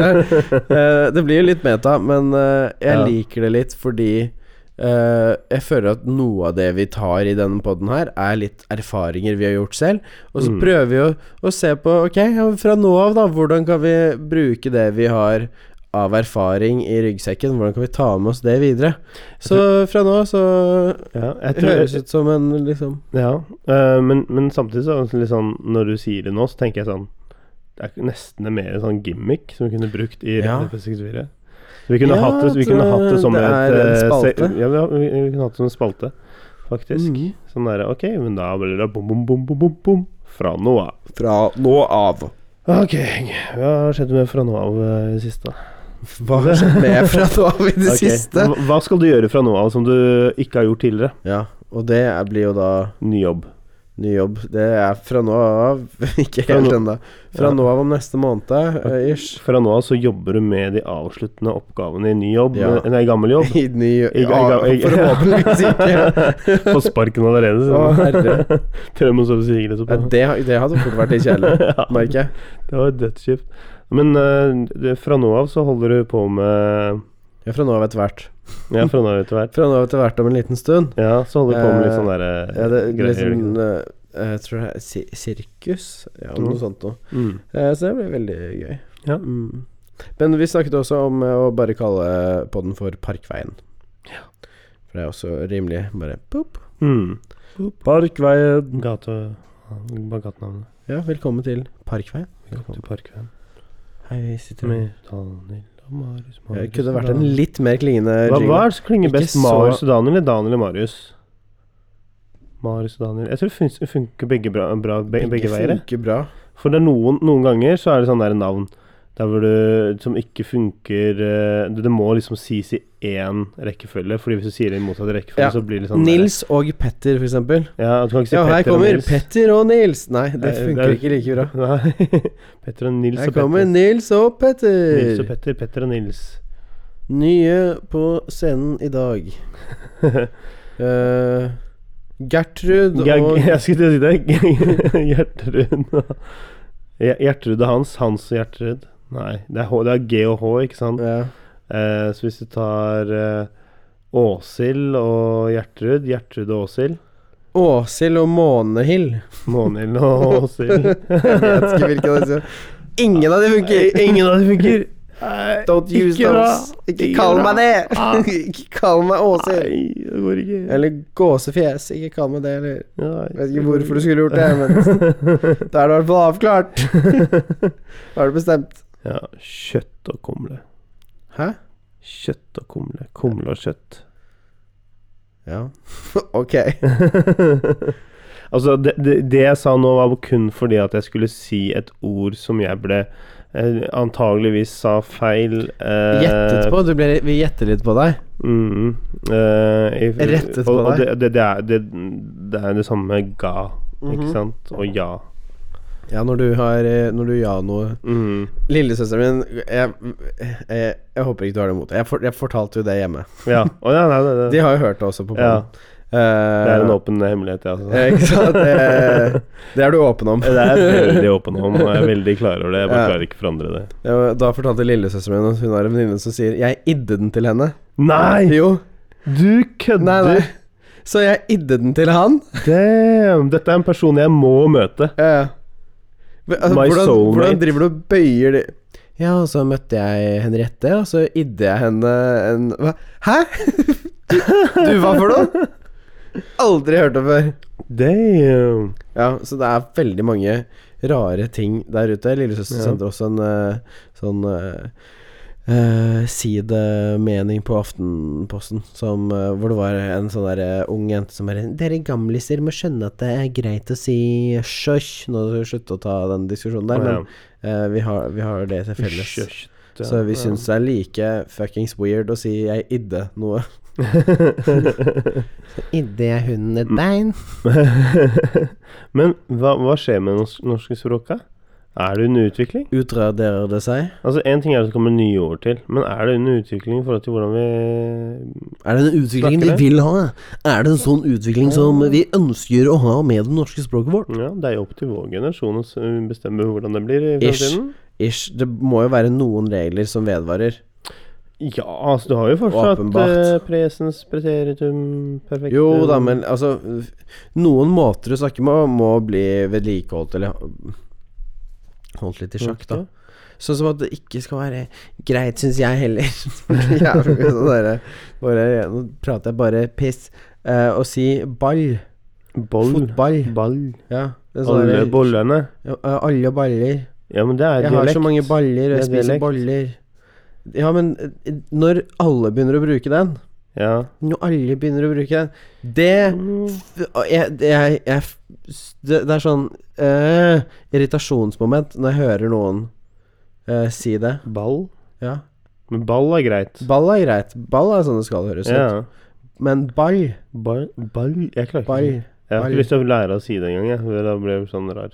eh, Det blir jo litt meta, men eh, jeg Ja. liker det litt fordi eh, jeg føler at noe av det vi tar i denne podden her, er litt erfaringer vi har gjort selv. Og så Mm. prøver vi å, å se på Ok, ja, fra nå av, da, hvordan kan vi bruke det vi har av erfaring i ryggsekken? Hvordan kan vi ta med oss det videre? Så fra nå av så Ja, jeg tror, høres det ut som en liksom Ja, øh, men, men samtidig så er det litt sånn Når du sier det nå, så tenker jeg sånn Det er nesten en mer sånn gimmick som vi kunne brukt i Ja. Radio P64. Så vi kunne, Ja, hatt, det, vi det- kunne hatt det som det et er en eh, se- spalte. Ja, vi, har- vi, vi kunne hatt det som en spalte, faktisk. Mm. Sånn derre Ok, men da blir det bom, bom, bom, bom, bom, bom. Fra nå av. Fra nå av. Ok, hva har skjedd med fra nå av eh, i det siste? Hva har skjedd med fra nå av i det Ok, siste? hva- Hva skal du gjøre fra nå av som du ikke har gjort tidligere? Ja, og det er- blir jo da Ny jobb. ny jobb. Det er fra nå av Ikke Fra helt nå- ennå. Fra Ja. nå av om neste måned, eh, ish. Fra nå av så jobber du med de avsluttende oppgavene i ny jobb, eh, Ja. nei, gammel jobb. I ny I- i- ja, i- Forhåpentligvis ikke. Få sparken allerede. Å, herre. herre. Prøv å sove Ja, sigaret oppå. det, det hadde fort vært litt kjedelig, Ja. merker jeg. Det var dødskjipt. Men eh, det, fra nå av så holder du på med Ja, fra nå av etter hvert. Ja, fra nå av etter hvert. Fra nå av etter hvert om en liten stund. Ja, så holder du på med litt Eh, sånn derre Ja, det er greier. litt sånn liksom. eh, Jeg tror det er si- sirkus? Ja, Mm. noe sånt noe. mm. Eh, Så det blir veldig gøy. Ja. Mm. Men vi snakket også om eh, å bare kalle podden for Parkveien. For det er også rimelig bare pop. Mm. Parkveien. Gate... Bare gatenavnet. Ja, velkommen til Parkveien. Til Parkveien. Hei, vi sitter med Med Daniel og Marius, Det Marius kunne og vært en Dan- litt mer klingende Hva, hva er det som klinger Ikke best? så- Marius og Daniel eller Daniel og Marius? Marius og Daniel Jeg tror det fun- funker begge, bra, bra, be, begge, veier. jeg. Funker bra. For det er noen, noen ganger så er det sånn der navn der hvor du, som ikke funker eh, Det det må liksom sies i én rekkefølge, Fordi hvis du sier det i motsatt rekkefølge, Ja. så blir det sånn der- Nils og Petter, for eksempel. Ja, du kan ikke si Ja, her Petter og kommer Nils. Petter og Nils. Nei, det Nei, funker det er- ikke like bra. Nei. Petter og Nils Her og kommer Petter. Nils og Nils og Petter. Petter, Petter og Nils. Nye på scenen i dag. Eh, Gertrud Gag, og jeg skulle til å si det. Gjertrud og Gjer- Gjertrud og Hans. Hans og Gjertrud. Nei, det er, H, det er G og H, ikke sant? ja. Eh, så hvis du tar eh, Åshild og Gjertrud Gjertrud og Åshild. Åshild og Månehild. Månhild og Åshild. Jeg vet ikke hvilken av disse Ingen av de funker! Ingen av dem funker. Don't use Ikke bra. those. Ikke kall meg Ah. det! Ikke kall meg Åshild. Nei, det går ikke. Eller gåsefjes. Ikke kall meg det, eller Nei, Jeg vet ikke hvorfor du skulle gjort det, men da er det i hvert fall avklart. Da er det bestemt. Ja, kjøtt og kumle. Hæ? Kjøtt og kumle. Kumle og kjøtt. Ja. Ok. altså, det, det, det jeg sa nå, var kun fordi at jeg skulle si et ord som jeg ble eh, Antageligvis sa feil. eh, Gjettet på? Du ble, vi gjetter litt på deg. Mm, eh, i- Rettet og, på og deg. Det, det, det, er, det, det er det samme ga, Mhm. ikke sant? Og ja. Ja, når du har eh, Når du ja noe Mhm. Lillesøsteren min jeg, jeg, jeg håper ikke du har det imot. Jeg, for, jeg fortalte jo det hjemme. Ja. Å, ja, nei, det, De det. har jo hørt det også på ja. podden. Eh, Det er en åpen hemmelighet, ja. Altså. Ikke sant? Det, det er du åpen om. Det er jeg veldig åpen om, og jeg er veldig klar over det. Jeg bare Ja. klarer ikke å forandre det. Ja, Da fortalte lillesøsteren min at hun har en venninne som sier 'jeg idde den til henne'. Nei! Jo. Nei, Du nei. kødder! Så jeg idde den til han. Damn! Dette er en person jeg må møte. Ja, ja. Men, altså, My hvordan, soulmate. hvordan driver du og bøyer det Ja, og så møtte jeg Henriette, og så idde jeg henne en hva? Hæ?! du, hva for noe?! Aldri hørt det før. Damn! Ja, så det er veldig mange rare ting der ute. Lillesøster Ja. sendte også en eh, sånn eh, eh, sidemening på Aftenposten som, eh, hvor det var en sånn der eh, ung jente som bare 'Dere gamliser må skjønne at det er greit å si sjøsj' Nå skal vi slutte å ta den diskusjonen der, Å, ja. men eh, vi, har, vi har det til felles. Kjøtt, ja. Så vi Ja. syns det er like fuckings weird å si 'jeg idde noe'. idde jeg hunden et bein? Men hva, hva skjer med norsk, norske språket? Er det under utvikling? Utraderer det seg? Altså Én ting er at det kommer nye ord til, men er det under utvikling i forhold til hvordan vi Er det den utviklingen vi Snakker vil ha? Er det en sånn utvikling som Mm. vi ønsker å ha med det norske språket vårt? Ja, det er jo opp til vår generasjon å s- eh, bestemme hvordan det blir i Ish. fremtiden. Ish. Det må jo være noen regler som vedvarer. Ja, altså du har jo fortsatt Åpenbart. eh, presens preteritum eh, perfektum Jo Mm. da, men altså Noen måter å snakke med må bli vedlikeholdt, eller holdt litt i sjakk, da. Sånn som at det ikke skal være greit, syns jeg heller. Jævlig mye sånn derre bare, Nå prater jeg bare piss. Eh, å si ball. Boll. Fotball. Ball. Ja. det er sånn Alle derre- bollene. Ja, alle baller. Ja, men det er Jeg dialekt. har så mange baller, og Det er jeg spiser dialekt. boller. Ja, men eh, når alle begynner å bruke den, Ja. Når alle begynner å bruke den Det Mm. og jeg, det- jeg, jeg s- det, det er sånn øh, irritasjonsmoment når jeg hører noen øh, si det. Ball? Ja. Men ball er greit. Ball er greit. Ball er sånn det skal høres ut. Ja. Men ball, Ball, ball Jeg klarer ikke ball Jeg har Ball. ikke lyst til å lære å si det engang, jeg. for Da blir jeg sånn rar.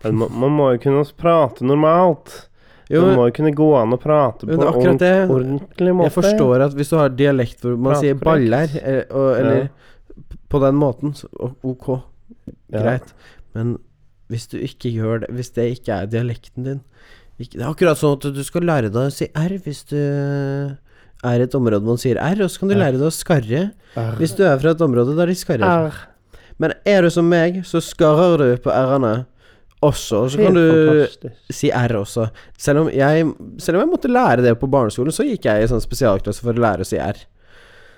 Men man, man må jo kunne prate normalt. Jo, man men, må jo kunne gå an å prate på men det er akkurat ordent- det. ordentlig måte. Jeg forstår at hvis du har dialekt hvor man Prat sier korrekt. 'baller', eh, og, eller Ja. p- på den måten, så o- ok, Ja. greit. Men hvis du ikke gjør det Hvis det ikke er dialekten din ikke, Det er akkurat sånn at du skal lære deg å si R hvis du er i et område man sier R, og så kan du R. lære deg å skarre R. hvis du er fra et område der de skarrer. R. Men er du som meg, så skarrer du på r-ene også, og så kan du fantastisk. si R også. Selv om, jeg, selv om jeg måtte lære det på barneskolen, så gikk jeg i sånn spesialklasse for å lære å si R.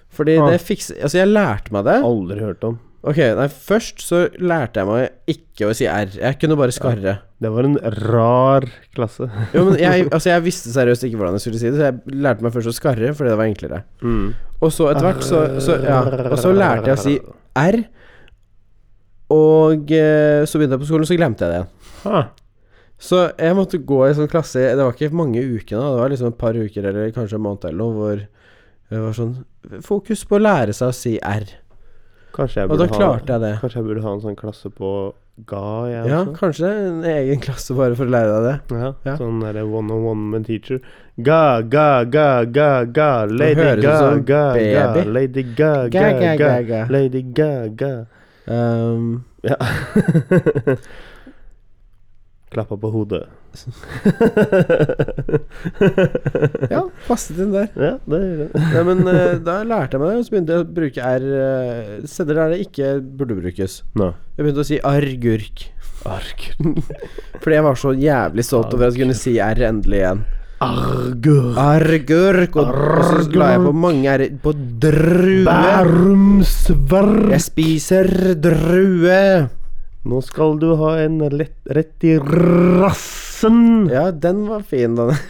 Fordi Ah. det fikser Altså, jeg lærte meg det. Aldri hørt om. Ok, nei, først så lærte jeg meg ikke å si R. Jeg kunne bare skarre. Det var en rar klasse. Jo, men jeg, altså, jeg visste seriøst ikke hvordan jeg skulle si det, så jeg lærte meg først å skarre fordi det var enklere. Mm. Og så etter hvert så, så Ja. Og så lærte jeg å si R. Og eh, så begynte jeg på skolen, så glemte jeg det igjen. Ha. Så jeg måtte gå i sånn klasse Det var ikke mange ukene, det var liksom et par uker eller kanskje en måned eller noe, hvor det var sånn Fokus på å lære seg å si R. Kanskje jeg Og da burde ha klarte jeg det. Kanskje jeg burde ha en sånn klasse på ga, jeg Ja, også? kanskje det er en egen klasse bare for å lære deg det. Ja, Ja. Sånn derre one on one med teacher. Ga, ga, ga, ga, ga, lady høres ut ga, som en ga, ga, baby. lady ga, ga, Ga, ga, ga, ga, ga. lady ga, ga. Ehm, Ja. Klappa på hodet. ja, passet inn der. Ja, det gjør det. Nei, men eh, da lærte jeg meg det, og så begynte jeg å bruke R eh, steder der det ikke burde brukes. Nå. Jeg begynte å si argurk. Arg. Fordi jeg var så jævlig stolt over at jeg kunne si R endelig igjen. Argur. Argurk, og, og så la jeg på mange R på drue. Bærumsvær. Jeg spiser drue. Nå skal du ha en lett, rett i rassen. Ja, den var fin, den. Jeg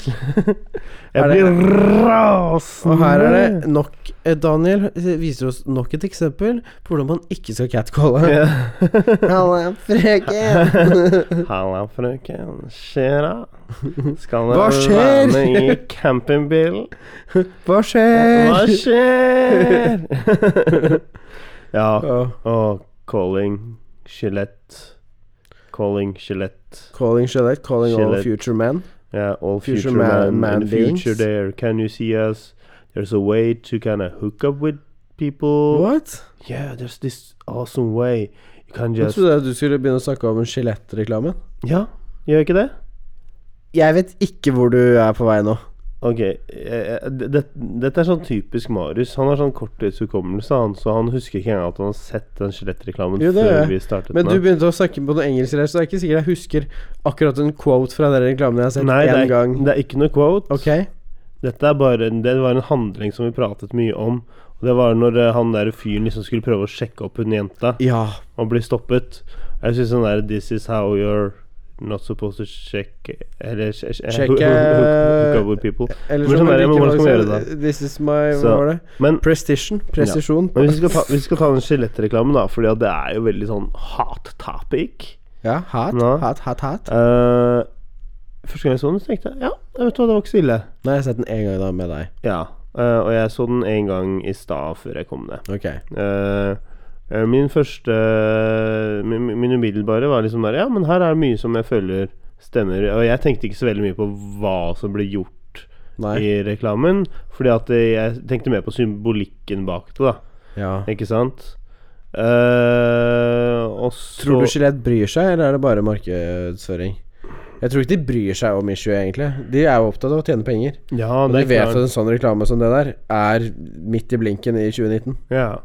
Er det- blir rasende. Og her er det nok eh, Daniel viser oss nok et eksempel på hvordan man ikke skal catcalle. Halla, frøken. Halla, frøken. Skjer da? Skal Hva dere skjer? være med i campingbilen? Hva Hva skjer? skjer? ja. Åh, Og calling skjelett. Calling skjelett. Calling Shellet, calling all Skjelett. future men. Yeah, Uh, all Future future, man- man, man and future beings. there. Can you see us? There's a way to kind of hook up with people. What? Yeah, there's this awesome way. You can Jeg just trodde at du skulle begynne å snakke om skjelettreklamen. Ja, gjør ikke det? Jeg vet ikke hvor du er på vei nå. Ok, eh, det, det, dette er sånn typisk Marius. Han har sånn korttidshukommelse, han, så han husker ikke engang at han har sett den skjelettreklamen Jo, det før gjør jeg. vi startet Men du den. begynte å snakke på noe engelsk der, så det er ikke sikkert jeg husker akkurat en quote fra den reklamen jeg har sett Nei, det én er, gang. det er ikke noe quote. Ok? Dette er bare en, det var en handling som vi pratet mye om. Og Det var når eh, han der fyren liksom skulle prøve å sjekke opp hun jenta Ja. og bli stoppet. Jeg syns sånn der This is how you're not supposed to check Eller sj- sj- Check, hook- hook- eh, hook up with people. Eller Men som sånn er det, Ulrikke men hvordan skal man Magnus gjøre det sa, This is my Hva Så- var det? Men Prestition. Presisjon. Men hvis vi skal ta, hvis vi skal ta den skjelettreklamen, da, Fordi at det er jo veldig sånn hot topic. Ja. Hat, Ja. hat, hat, hat. Eh, første gang jeg så den, så tenkte jeg ja, vet du hva, det var ikke så ille. Nei, jeg har sett den én gang da med deg. Ja, eh, Og jeg så den en gang i stad før jeg kom ned. Ok. Eh, eh, min første eh, min, min umiddelbare var liksom bare Ja, men her er det mye som jeg føler stemmer. Og jeg tenkte ikke så veldig mye på hva som ble gjort Nei. i reklamen. Fordi at eh, jeg tenkte mer på symbolikken bak det, da. Ja. Ikke sant? Eh, og så Tror du Skjelett bryr seg, eller er det bare markedsføring? Jeg tror ikke de bryr seg om issue, egentlig. De er jo opptatt av å tjene penger. Ja, Og de det er vet at klart. en sånn reklame som det der er midt i blinken i 2019. Ja.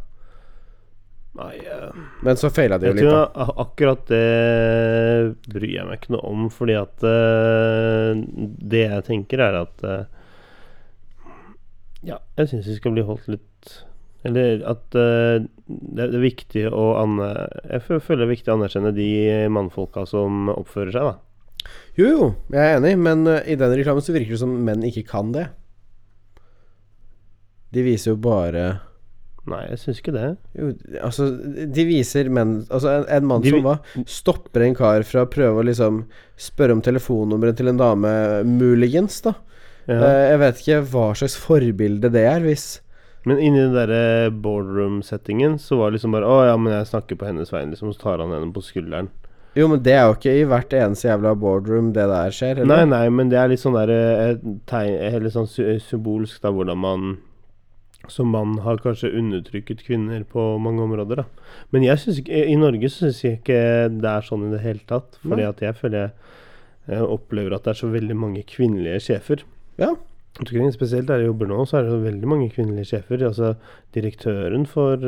Nei, eh, Men så feila de jo Jeg litt, tror da. a- akkurat det bryr jeg meg ikke noe om, fordi at eh, det jeg tenker, er at eh, Ja, jeg syns vi skal bli holdt litt Eller at eh, det det er viktig å aner... Jeg fø- føler det er viktig å anerkjenne de mannfolka som oppfører seg, da. Jo, jo, jeg er enig, men eh, i den reklamen så virker det som menn ikke kan det. De viser jo bare Nei, jeg syns ikke det. Jo, altså, de viser menn Altså, en, en mann De vi- som hva? Stopper en kar fra å prøve å liksom spørre om telefonnummeret til en dame, muligens, da. Ja. Eh, Jeg vet ikke hva slags forbilde det er, hvis Men inni den derre ballroom-settingen så var det liksom bare Å ja, men jeg snakker på hennes vegne, liksom. Så tar han henne på skulderen. Jo, men det er jo ikke i hvert eneste jævla boardroom det der skjer, Nei, eller? nei, men det er litt sånn der eh, et tegn, eh, Litt sånn sy- symbolsk, da, hvordan man som mann har kanskje undertrykket kvinner på mange områder, da. Men jeg synes ikke, i Norge så syns jeg ikke det er sånn i det hele tatt. Fordi Nei. at jeg føler jeg, jeg opplever at det er så veldig mange kvinnelige sjefer. Ja. Rundt omkring, Spesielt der jeg jobber nå, så er det så veldig mange kvinnelige sjefer. Altså direktøren for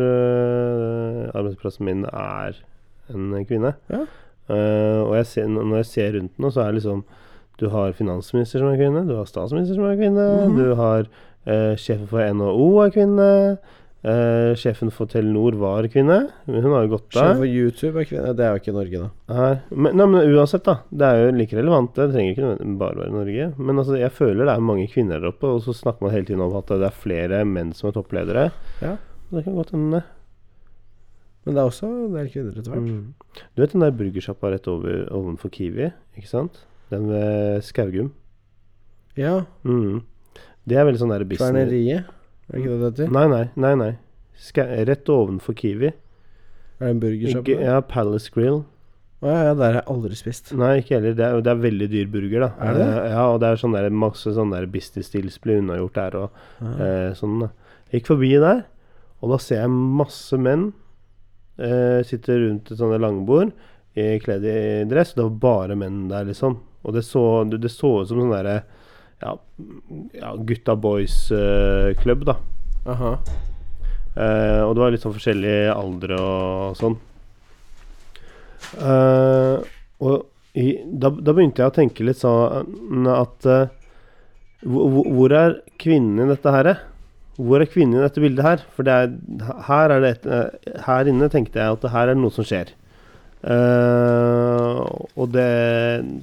øh, arbeidsplassen min er en kvinne. Ja. Eh, og jeg ser, når jeg ser rundt nå, så er det liksom Du har finansminister som er kvinne, du har statsminister som er kvinne, Mhm. du har eh, sjefen for NHO er kvinne, eh, sjefen for Telenor var kvinne. men Hun har jo gått Sjef av. for YouTube er kvinne Det er jo ikke i Norge, da. Nei, men, nei, men uansett, da. Det er jo like relevant. Det trenger ikke nødvendigvis bare være Norge. Men altså, jeg føler det er mange kvinner der oppe, og så snakker man hele tiden om at det er flere menn som er toppledere. Ja. Det kan godt hende. Men det er også en del kvinner etter hvert. Mm. Du vet den der burgersjappa rett over, ovenfor Kiwi? Ikke sant? Den ved Skaugum. Ja. Mm. Det er veldig sånn der business... Kverneriet, er det ikke det det heter? Nei, nei, nei. nei. Ska rett ovenfor Kiwi. Er det en burgersjappe? Ikke, ja, Palace Grill. Å ja, ja, der har jeg aldri spist. Nei, ikke heller. Det er, det er veldig dyr burger, da. Er det det? Eh, Ja, og det er sånn der, masse sånn der business deals blir unnagjort der og Ja. eh, sånn. Da. Gikk forbi der, og da ser jeg masse menn eh, sitte rundt et sånt langbord i- kledd i dress. Og det var bare menn der, liksom. Og det så det det så ut som sånn derre ja, ja, gutta boys-klubb, da. Aha. Eh, og det var litt sånn forskjellig alder og sånn. Eh, og i, da, da begynte jeg å tenke litt sånn at eh, hvor, hvor- hvor er kvinnen i dette her? Hvor er kvinnen i dette bildet her? For det er, her, er det et, eh, her inne tenkte jeg at det her er det noe som skjer. Eh, og det,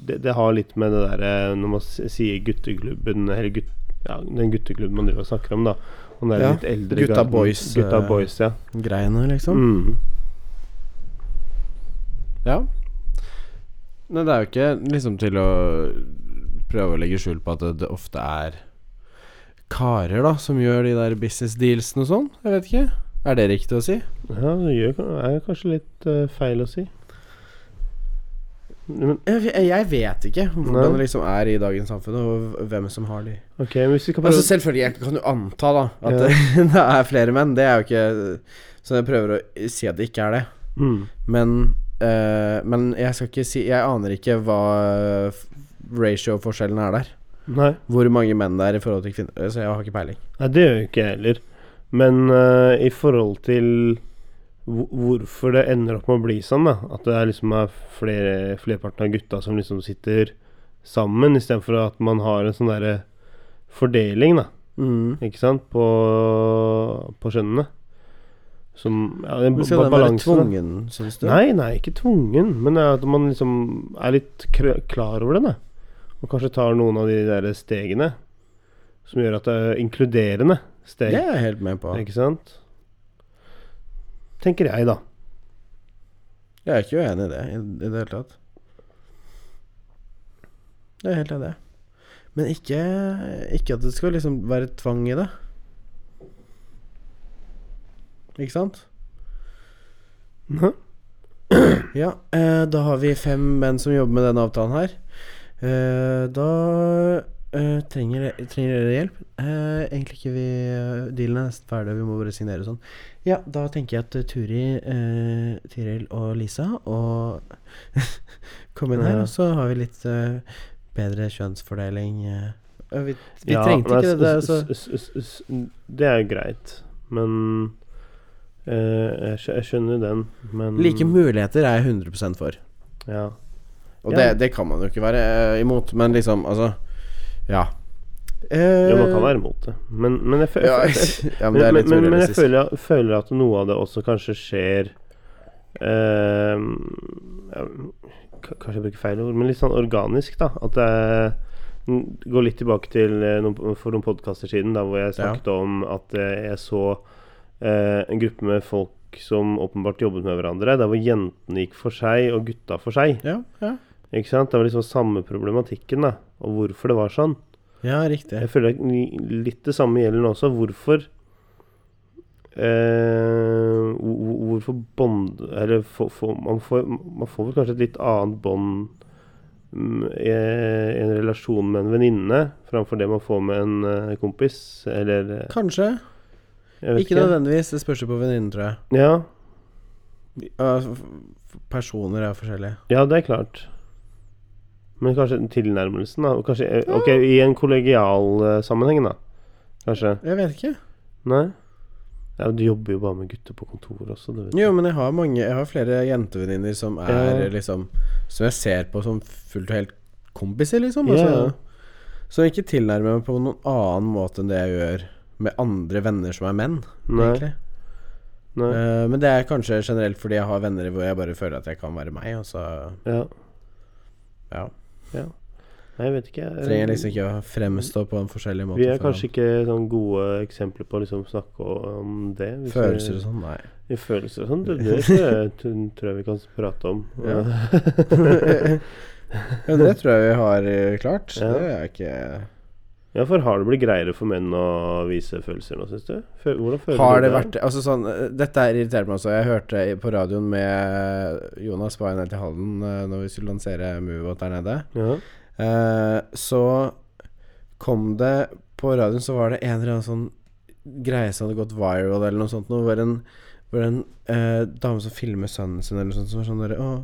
det, det har litt med det derre når man s- sier gutteklubben Eller gutt, ja, den gutteklubben man driver og snakker om, da. Og det er Ja, litt eldre gutta garden. boys, Gutta eh, boys, ja. Greiene, liksom. Mm. Ja. Nei, det er jo ikke liksom til å prøve å legge skjul på at det, det ofte er karer, da, som gjør de der business dealsene og sånn. Jeg vet ikke. Er det riktig å si? Ja, det gjør, er kanskje litt eh, feil å si. Men Jeg, jeg vet ikke Nei. hvordan det liksom er i dagens samfunn, og hvem som har de. ok, men hvis vi kan prøve Altså Selvfølgelig, jeg kan jo anta da at Ja. det, det er flere menn. Det er jo ikke Så jeg prøver å si at det ikke er det. mm. Men eh, Men jeg skal ikke si Jeg aner ikke hva f- ratio-forskjellen er der. Nei. Hvor mange menn det er i forhold til kvinner. eh, Så jeg har ikke peiling. Nei, det gjør jo ikke jeg heller. Men eh, i forhold til hvor- hvorfor det ender opp med å bli sånn, da. At det er liksom er flere, flerparten av gutta som liksom sitter sammen, istedenfor at man har en sånn derre fordeling, da. Mm. Ikke sant? På, på skjønnene. Som ja, Men den ba- Skal den være balansen. da. tvungen, syns du? Nei, nei, ikke tvungen, men det er at man liksom er litt kr klar over det, da. Og kanskje tar noen av de der stegene som gjør at det er inkluderende steg. Det er jeg helt med på. Ikke sant? Tenker jeg, da. Jeg er ikke uenig i det i, i det hele tatt. Det er helt enig. Men ikke, ikke at det skal liksom være tvang i det. Ikke sant? Mhm. Ja, eh, da har vi fem menn som jobber med denne avtalen her. Eh, da eh, trenger, trenger dere hjelp. Eh, egentlig ikke vi eh, Dealen er nesten ferdig, vi må bare signere og sånn. Ja, da tenker jeg at eh, Turi, eh, Tiril og Lisa og Kom inn her, Ja. og så har vi litt eh, bedre kjønnsfordeling. eh. Eh, Vi, vi Ja, trengte men ikke det. det er s- altså. s- s- s- s- Det er jo greit, men eh, jeg skjø- jeg skjønner den, men Like muligheter er jeg 100 for. Ja. Og Ja. det, det kan man jo ikke være eh, imot, men liksom, altså Ja. Eh, Jo, man kan være imot det, men, men jeg, fø- ja, jeg, ja, men Men, det er men, litt men, men jeg urealistisk. føler, føler at noe av det også kanskje skjer eh, ja, k- Kanskje jeg bruker feil ord, men litt sånn organisk, da. At det er- n- går litt tilbake til eh, noen, for noen podkaster siden, da, hvor jeg snakket om at eh, jeg så eh, en gruppe med folk som åpenbart jobbet med hverandre, der hvor jentene gikk for seg og gutta for seg. Ja, ja. Ikke sant? Det var liksom samme problematikken, da, og hvorfor det var sånn. ja riktig. Jeg føler at li- litt det samme gjelder nå også. Hvorfor eh, hvor- hvor- Hvorfor bånd Eller få- få- man, får, man får vel kanskje et litt annet bånd mm, i i en relasjon med en venninne framfor det man får med en eh, kompis, eller eh, Kanskje. jeg vet Ikke nødvendigvis. Det spørs jo på venninnen, tror jeg. Ja, Ja, f- f- Personer er forskjellige. ja, det er klart. Men kanskje den tilnærmelsen, da. og Kanskje, eh, ok, Mm. I en kollegial eh, sammenheng, da. Kanskje. Jeg vet ikke. Nei? Ja, Du jobber jo bare med gutter på kontoret også. Det vet du. Jo, men jeg har mange Jeg har flere jentevenninner som er Ja. liksom Som jeg ser på som fullt og helt kompiser, liksom. Ja, ja. Altså, Som jeg ikke tilnærmer meg på noen annen måte enn det jeg gjør med andre venner som er menn, Nei. egentlig. Nei. Eh, men det er kanskje generelt fordi jeg har venner hvor jeg bare føler at jeg kan være meg, og så Ja. Ja. Nei, jeg vet ikke. jeg- trenger jeg liksom ikke å fremstå på en forskjellig måte. Vi er for kanskje ikke sånn gode eksempler på å liksom snakke om det. hvis Følelser og vi- sånn, nei. Ja, følelser og sånn. Det, det tror, jeg, t- tror jeg vi kan prate om. Ja. ja, det tror jeg vi har eh, klart. Ja. Det er ikke ja, for har det blitt greiere for menn å vise følelser nå, syns du? Fø hvordan føler Har du det vært Altså sånn eh, Dette her irriterer meg også. Jeg hørte i- på radioen med Jonas var nede til Halden eh, når vi skulle lansere Movot der nede. Ja. Eh, så kom det På radioen så var det en eller annen sånn greie som hadde gått viral, eller noe sånt. Noe, hvor en, hvor en eh, dame som filmer sønnen sin, eller noe sånt, som var sånn derre Å,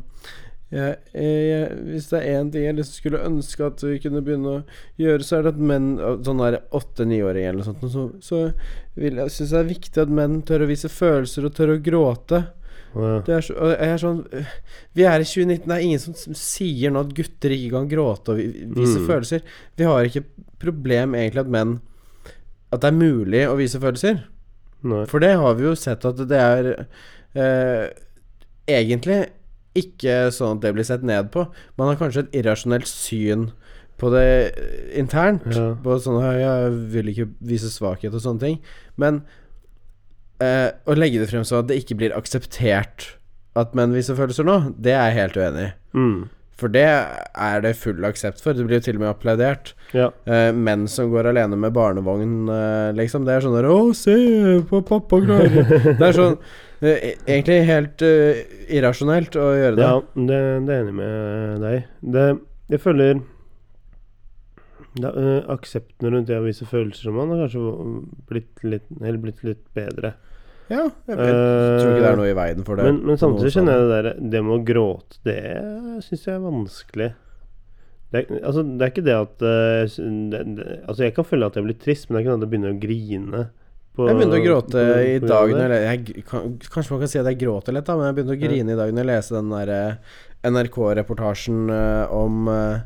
jeg, jeg, jeg, hvis det er én ting jeg liksom skulle ønske at vi kunne begynne å gjøre, så er det at menn Sånn der åtte-niåring eller noe sånt, og så, så vil jeg synes det er viktig at menn tør å vise følelser og tør å gråte. Å, Det er så, og jeg er sånn øh, Vi er i 2019, det er ingen som s- sier nå at gutter ikke kan gråte og vi- vise Mm. følelser. Vi har ikke problem egentlig at menn At det er mulig å vise følelser. ja. Nei. For det har vi jo sett at det er eh, egentlig ikke sånn at det blir sett ned på. Man har kanskje et irrasjonelt syn på det eh, internt. Ja. På sånn «Ja, Jeg vil ikke vise svakhet og sånne ting. Men eh, å legge det frem sånn at det ikke blir akseptert at menn viser følelser nå, det er jeg helt uenig i. Mm. For det er det full aksept for. Det blir jo til og med applaudert. Ja. Eh, menn som går alene med barnevogn, eh, liksom. Det er sånn der Å, se på pappa klarer Det er sånn eh, Egentlig helt eh, irrasjonelt å gjøre det. Ja, det, det er jeg enig med deg. Det, jeg føler da, eh, Aksepten rundt det å vise følelser som man har kanskje blitt litt, eller blitt litt bedre. Ja, jeg, vet- jeg tror ikke det er noe i veien for det. Men, men samtidig Noe sånn. kjenner jeg det der Det med å gråte, det syns jeg er vanskelig. Det er, altså, det er ikke det at eh, jeg syn- det, det, Altså, jeg kan føle at jeg blir trist, men det er ikke sånn at jeg begynner å grine. på- Jeg begynte å gråte i på grunn av dag det. når jeg, jeg gr- kan, Kanskje man kan si at jeg gråter litt, da, men jeg begynte å Ja. grine i dag når jeg leste den der eh, NRK-reportasjen eh, om eh,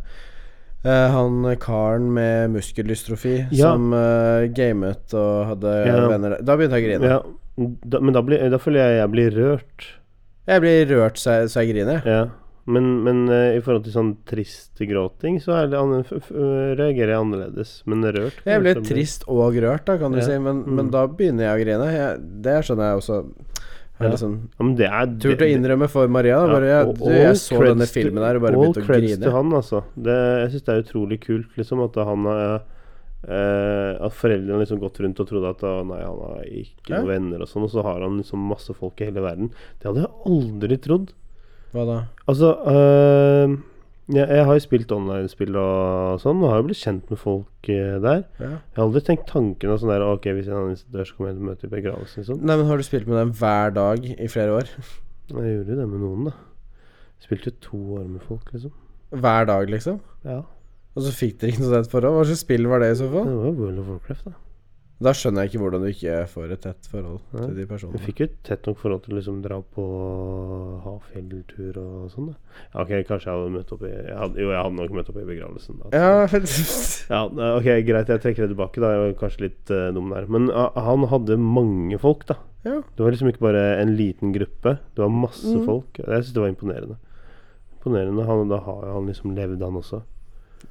eh, han karen med muskeldystrofi Ja. som eh, gamet og hadde Ja. venner der. Da begynte jeg å grine. ja, da, Men da, blir, da føler jeg jeg blir rørt. Jeg blir rørt så jeg, så jeg griner. jeg. Ja, men, men eh, i forhold til sånn trist gråting, så er det anner- f- f- reagerer jeg annerledes. Men rørt Jeg liksom kanskje blir det trist og rørt, da, kan du Ja. si, men, Mm. men da begynner jeg å grine. Jeg, det skjønner jeg også. Jeg Ja. har liksom Ja, men det er turt å innrømme for Maria. Da, bare, jeg, og du, jeg all så creds denne til- filmen der og bare all begynte å creds grine. til han, altså. Det, jeg syns det er utrolig kult liksom, at han har eh, At foreldrene har liksom gått rundt og trodd at «Å, nei, han har ikke Ja. noen venner og sånn, og så har han liksom masse folk i hele verden. Det hadde jeg aldri trodd. Hva da? Altså eh, jeg, jeg har jo spilt online-spill og sånn, og har jo blitt kjent med folk eh, der. Ja. Jeg har aldri tenkt tanken av sånn der Ok, hvis en annen dør, så kommer jeg til å møte i begravelsen. Liksom. Nei, men Har du spilt med dem hver dag i flere år? Jeg gjorde jo det med noen, da. Jeg spilte jo to år med folk, liksom. Hver dag, liksom? Ja. Og så fikk dere ikke noe tett forhold? Hva slags spill var det i så Det fall? var jo World of Warcraft, da. Da skjønner jeg ikke hvordan du ikke får et tett forhold til Nei. de Jeg personene. fikk jo et tett nok forhold til å liksom dra på havfjelltur og sånn, da. Ja, ok, kanskje jeg hadde møtt opp i jeg hadde, Jo, jeg hadde nok møtt opp i begravelsen, da. Ja, Ja, eh, ok, greit, jeg trekker det tilbake, da. Jeg var kanskje litt eh, dum der. Men ah, han hadde mange folk, da. Ja. Det var liksom ikke bare en liten gruppe. Det var masse Mm. folk. Jeg syns det var imponerende. Imponerende. Han, da har jo han liksom levd, han også.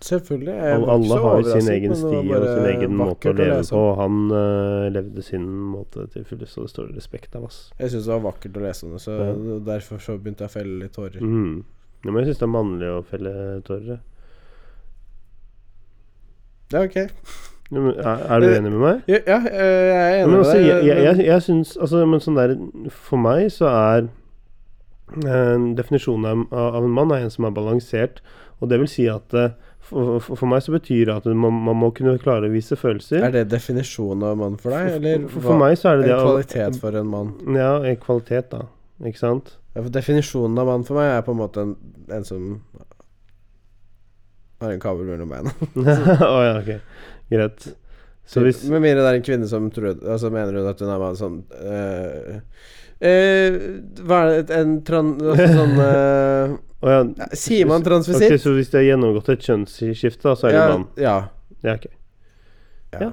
Selvfølgelig. jeg Alle, var ikke alle så har jo sin overrasket, egen men det var sti og bare sin egen måte å vakkert leve lese på. om. og Han eh, levde sin måte til fulle, så det står respekt av oss. Jeg syns det var vakkert å lese om det, så Ja. og derfor så begynte jeg å felle litt tårer. Mm. Ja, men jeg syns det er mannlig å felle tårer. jeg. Ja, ok. Ja, men Er, er du Eh, enig med meg? Ja, ja, eh, jeg er Men enig med også, deg. jeg, jeg, men- jeg, jeg syns altså, Men sånn der For meg så er eh, Definisjonen av, av en mann er en som er balansert. Og det vil si at eh, for, for, for meg så betyr det at man, man må kunne klare å vise følelser. Er det definisjonen av mann for deg, eller for, hva- for meg så er det det en å- kvalitet for en mann? Ja, en kvalitet, da. Ikke sant? Ja, for definisjonen av mann for meg er på en måte en, en som har en kabel mellom beina. Å Altså- ja, ok. Greit. Så hvis Med mindre det er en kvinne som tror Altså mener hun at hun er mann sånn eh, eh, Hva er det En tran... Altså sånn eh, Å ja. Sier man Ok, transvisitt? så hvis de har gjennomgått et kjønnsskifte, da, så er det ja, mann? ja. Ja, ok. Ja. Ja.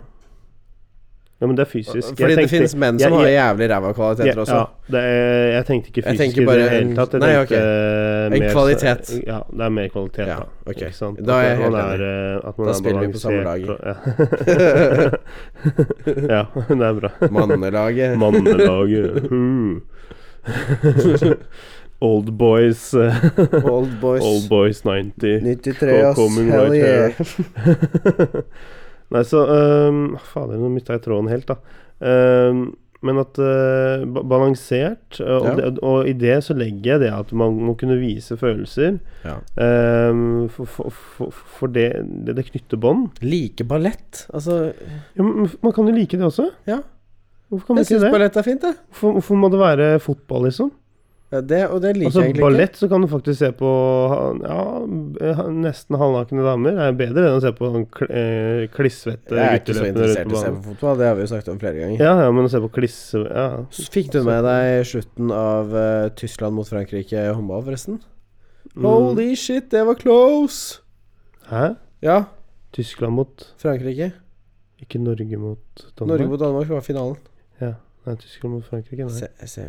ja, men det er fysisk. Fordi det finnes menn som har jævlig ræva kvaliteter ja, også. ja, det er, jeg tenkte ikke Jeg fysisk tenker i bare det hele en- tatt. Jeg nei, tenkte, ok. eh, En mer så- kvalitet. Ja, det er mer kvalitet, Ja, da. ok. Ikke sant? Da er jeg At man helt eh, at man Da er spiller vi på samme lag. balansert og- Ja. ja, det er bra. Mannelaget. Mannelaget. Hmm. Old boys. eh, Old boys. Old boys 90. 93, ass. Coming Hell right yeah. Nei, så um, Fader, nå mista jeg tråden helt, da. Ehm, men at eh, ba- balansert, eh, og, Ja. det, og i det så legger jeg det at man må kunne vise følelser. Ja. Ehm, for for, for, for det, det, det knytter bånd. Like ballett. Altså Ja, men man kan jo like det også. Ja. Hvorfor kan man Jeg ikke syns det? ballett er fint, jeg. Hvorfor, hvorfor må det være fotball, liksom? Ja, det, og det liker Altså jeg egentlig Ballett så kan du faktisk se på ja, eh, nesten halvnakne damer. Det er bedre enn å se på sånn kl- eh, klissvette ikke. Jeg er ikke så gutteløpende rundt interessert i å på se banen. på fotball, det har vi jo snakket om flere ganger. Ja, ja, men å se på kliss ja. Fikk du med deg slutten av eh, Tyskland mot Frankrike i håndball, forresten? Mm. Holy shit, det var close! Hæ? Ja, Tyskland mot Frankrike. Ikke Norge mot Danmark? Norge mot Danmark var finalen. Nei, Tyskland mot Frankrike. Nei. Se, se,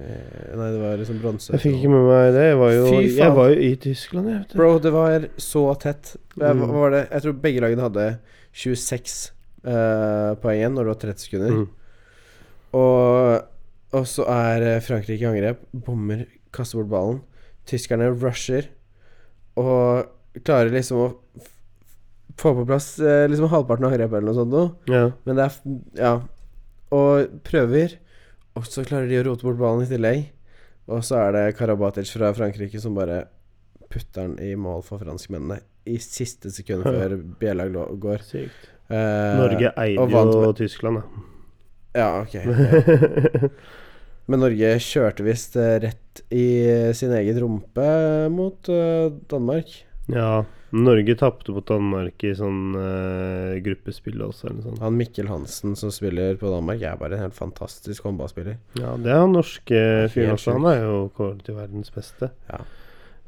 nei, det var liksom bronse. Jeg fikk ikke med meg det. Jeg var jo, Fy faen. jeg var jo i Tyskland, jeg. Vet du. Bro, det var så tett. Jeg, Mm. hva var det? jeg tror begge lagene hadde 26 eh, poeng igjen når det var 30 sekunder. Mm. Og, og så er eh, Frankrike i angrep, bommer, kaster bort ballen. Tyskerne rusher og klarer liksom å f- få på plass eh, liksom halvparten av angrepet eller noe sånt. Nå. Ja. Men det er f- Ja. Og prøver, og så klarer de å rote bort ballen i tillegg. Og så er det Karabatic fra Frankrike som bare putter den i mål for franskmennene i siste sekund før bjella glå- går. Sykt. Eh, Norge eide og vant jo med- Tyskland, da. Ja, ok. ja. Men Norge kjørte visst eh, rett i sin egen rumpe mot eh, Danmark. ja. Norge tapte mot Danmark i sånn eh, gruppespill også, eller noe sånt. Han Mikkel Hansen som spiller på Danmark, er bare en helt fantastisk håndballspiller. Ja, det er han norske fyren helt også. Han er jo kåret til verdens beste. Ja.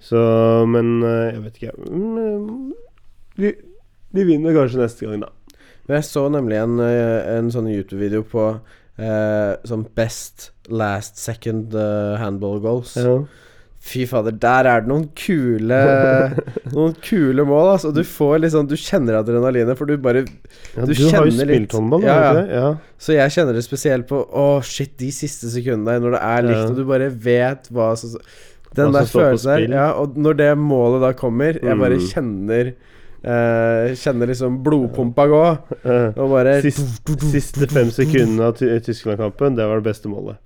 Så, men eh, jeg vet ikke Mm, De, de vinner kanskje neste gang, da. Men jeg så nemlig en, eh, en sånn YouTube-video på eh, sånn best last second eh, handball goals. Ja. Fy fader, der er det noen kule Noen kule mål, altså. Du får liksom Du kjenner adrenalinet, for du bare du Du har jo kjenner litt- spilt håndball, Ja, har du ja. ikke det? Ja. Så jeg kjenner det spesielt på Å, shit, de siste sekundene når det er likt, Ja. og du bare vet hva som Den Hva som der står på følelsen spill. der. Ja, og når det målet da kommer, jeg bare Mm. kjenner eh, Kjenner liksom blodpumpa gå, Eh, og bare sist, siste fem sekundene av Ty- Tyskland-kampen, det var det beste målet.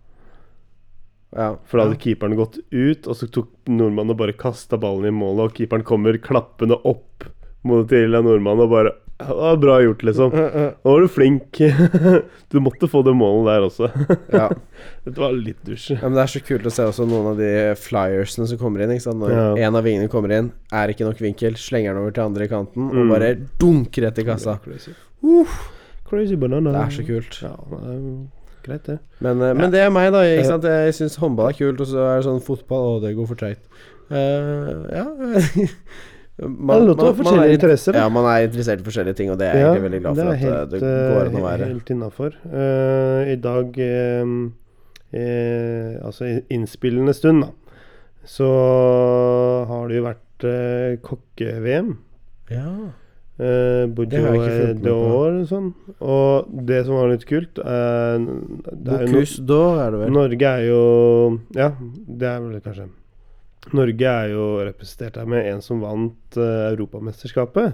Ja. For da hadde keeperen gått ut, og så tok nordmannen og bare kasta ballen i målet, og keeperen kommer klappende opp mot til nordmannen og bare ja, Bra gjort, liksom. Nå var du flink. Du måtte få det målet der også. ja. Dette var litt dusj. Ja, men Det er så kult å se også noen av de flyersene som kommer inn. ikke sant? Når Ja. en av vingene kommer inn, er ikke nok vinkel, slenger den over til andre kanten Mm. og bare dunker rett i kassa. Crazy. Crazy banana. altså. Det er så kult. Ja, det er jo greit, det. Men, eh, men det er meg, da. ikke sant? Jeg syns håndball er kult, og så er det sånn fotball Å, det går for treigt. Eh, ja Man, man, det er lov til å ha forskjellige er, interesser. da. ja, man er interessert i forskjellige ting, og det er jeg Ja, egentlig veldig glad for er at eh, helt, det går an å eh, være. Helt innafor. I dag eh, eh, Altså i innspillende stund, da, så har det jo vært eh, kokke-VM. Ja. Eh, Det har jeg ikke fulgt med Bourgeois på. d'Or og sånn. Og det som var litt kult eh, det er jo no- Bocuse d'Or er det vel. Norge er jo Ja, det er vel det kanskje. Norge er jo representert her med en som vant eh, Europamesterskapet.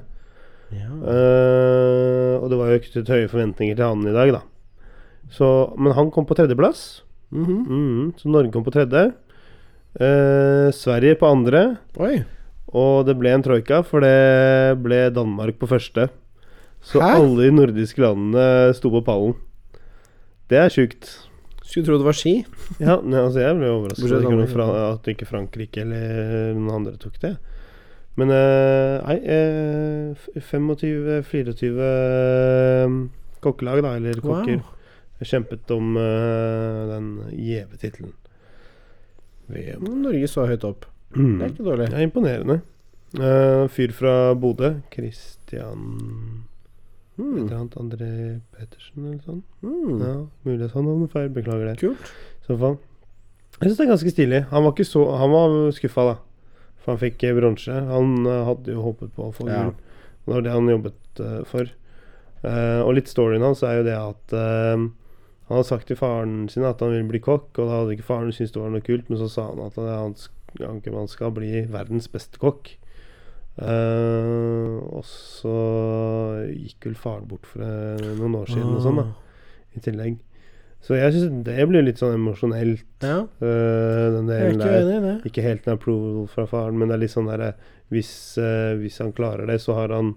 Ja. Eh, og det var jo knyttet høye forventninger til han i dag, da. Så, men han kom på tredjeplass. Mhm. Mhm, så Norge kom på tredje. Eh, Sverige på andre. Oi. Og det ble en troika, for det ble Danmark på første. Så Hæ? alle de nordiske landene sto på pallen. Det er sjukt. Skulle tro det var ski. Ja, nei, altså jeg ble overrasket Bortsett over at, fra ikke noen fra- at ikke Frankrike eller noen andre tok det. Men eh, nei eh, f- 25-24 eh, kokkelag, da, eller Wow. kokker, kjempet om eh, den gjeve tittelen. VM. Norge så høyt opp. Det er Mm. ikke dårlig. Det er imponerende. Eh, fyr fra Bodø, Christian et Mm. eller annet, André Pettersen eller sånn. Mm. Ja, mulig jeg sa navnet feil, beklager det Kult. så faen. Jeg syns det er ganske stilig. Han var, ikke så, han var skuffa, da. For han fikk eh, bronse. Han eh, hadde jo håpet på å få Ja. gull. Det var det han jobbet eh, for. Eh, og litt storyen hans er jo det at eh, han hadde sagt til faren sin at han ville bli kokk, og da hadde ikke faren syntes det var noe kult, men så sa han at han, han, sk- han, ikke- han skal bli verdens beste kokk. Eh, og så gikk vel faren bort for eh, noen år siden og sånn, da i tillegg. Så jeg syns det blir litt sånn emosjonelt, Ja. øh, den Jeg er delen ikke der. uenig i det. Ikke helt en approval fra faren, men det er litt sånn derre hvis, øh, hvis han klarer det, så har han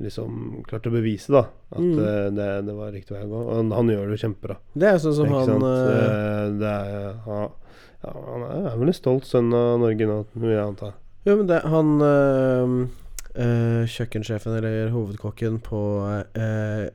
liksom klart å bevise, da, at Mm. øh, det, det var riktig vei å gå. Og han, han gjør det jo kjempebra. Det er sånn som ikke han sant? eh, Øh, det er, ja, ja, han er- er vel en stolt sønn av Norge nå, vil jeg anta. Jo, men det han eh, eh, kjøkkensjefen, eller hovedkokken på uh,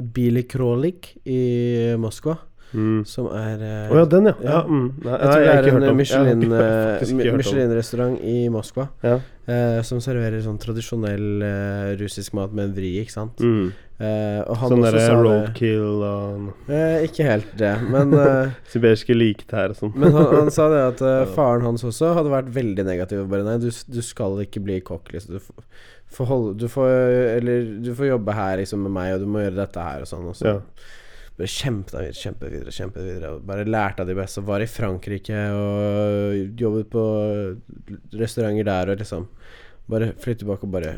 Bili Krolik i Moskva, Mm. som er Å eh, ja, den, ja. ja. Ja. mm. Nei, Jeg tror nei, det har ikke er hørt en om. Jeg har Michelin, ikke- eh, faktisk ikke hørt Mi- om. Michelin-restaurant i Moskva Ja. eh, som serverer sånn tradisjonell eh, russisk mat med en vri, ikke sant. Mm. Eh, og han Sånn også derre sa det. roadkill og Eh, ikke helt det, men eh, sibirske liketær og sånn. Men han, han sa det at eh, Ja. faren hans også hadde vært veldig negativ. og Bare nei, du, s- du skal ikke bli kokk, liksom. Du får, får holde Du får Eller du får jobbe her liksom med meg, og du må gjøre dette her og sånn. Og så Ja. bare kjempet han videre, kjempet videre, kjempet videre. Og bare lærte av de beste. Var i Frankrike og jobbet på restauranter der og liksom Bare flytte tilbake og bare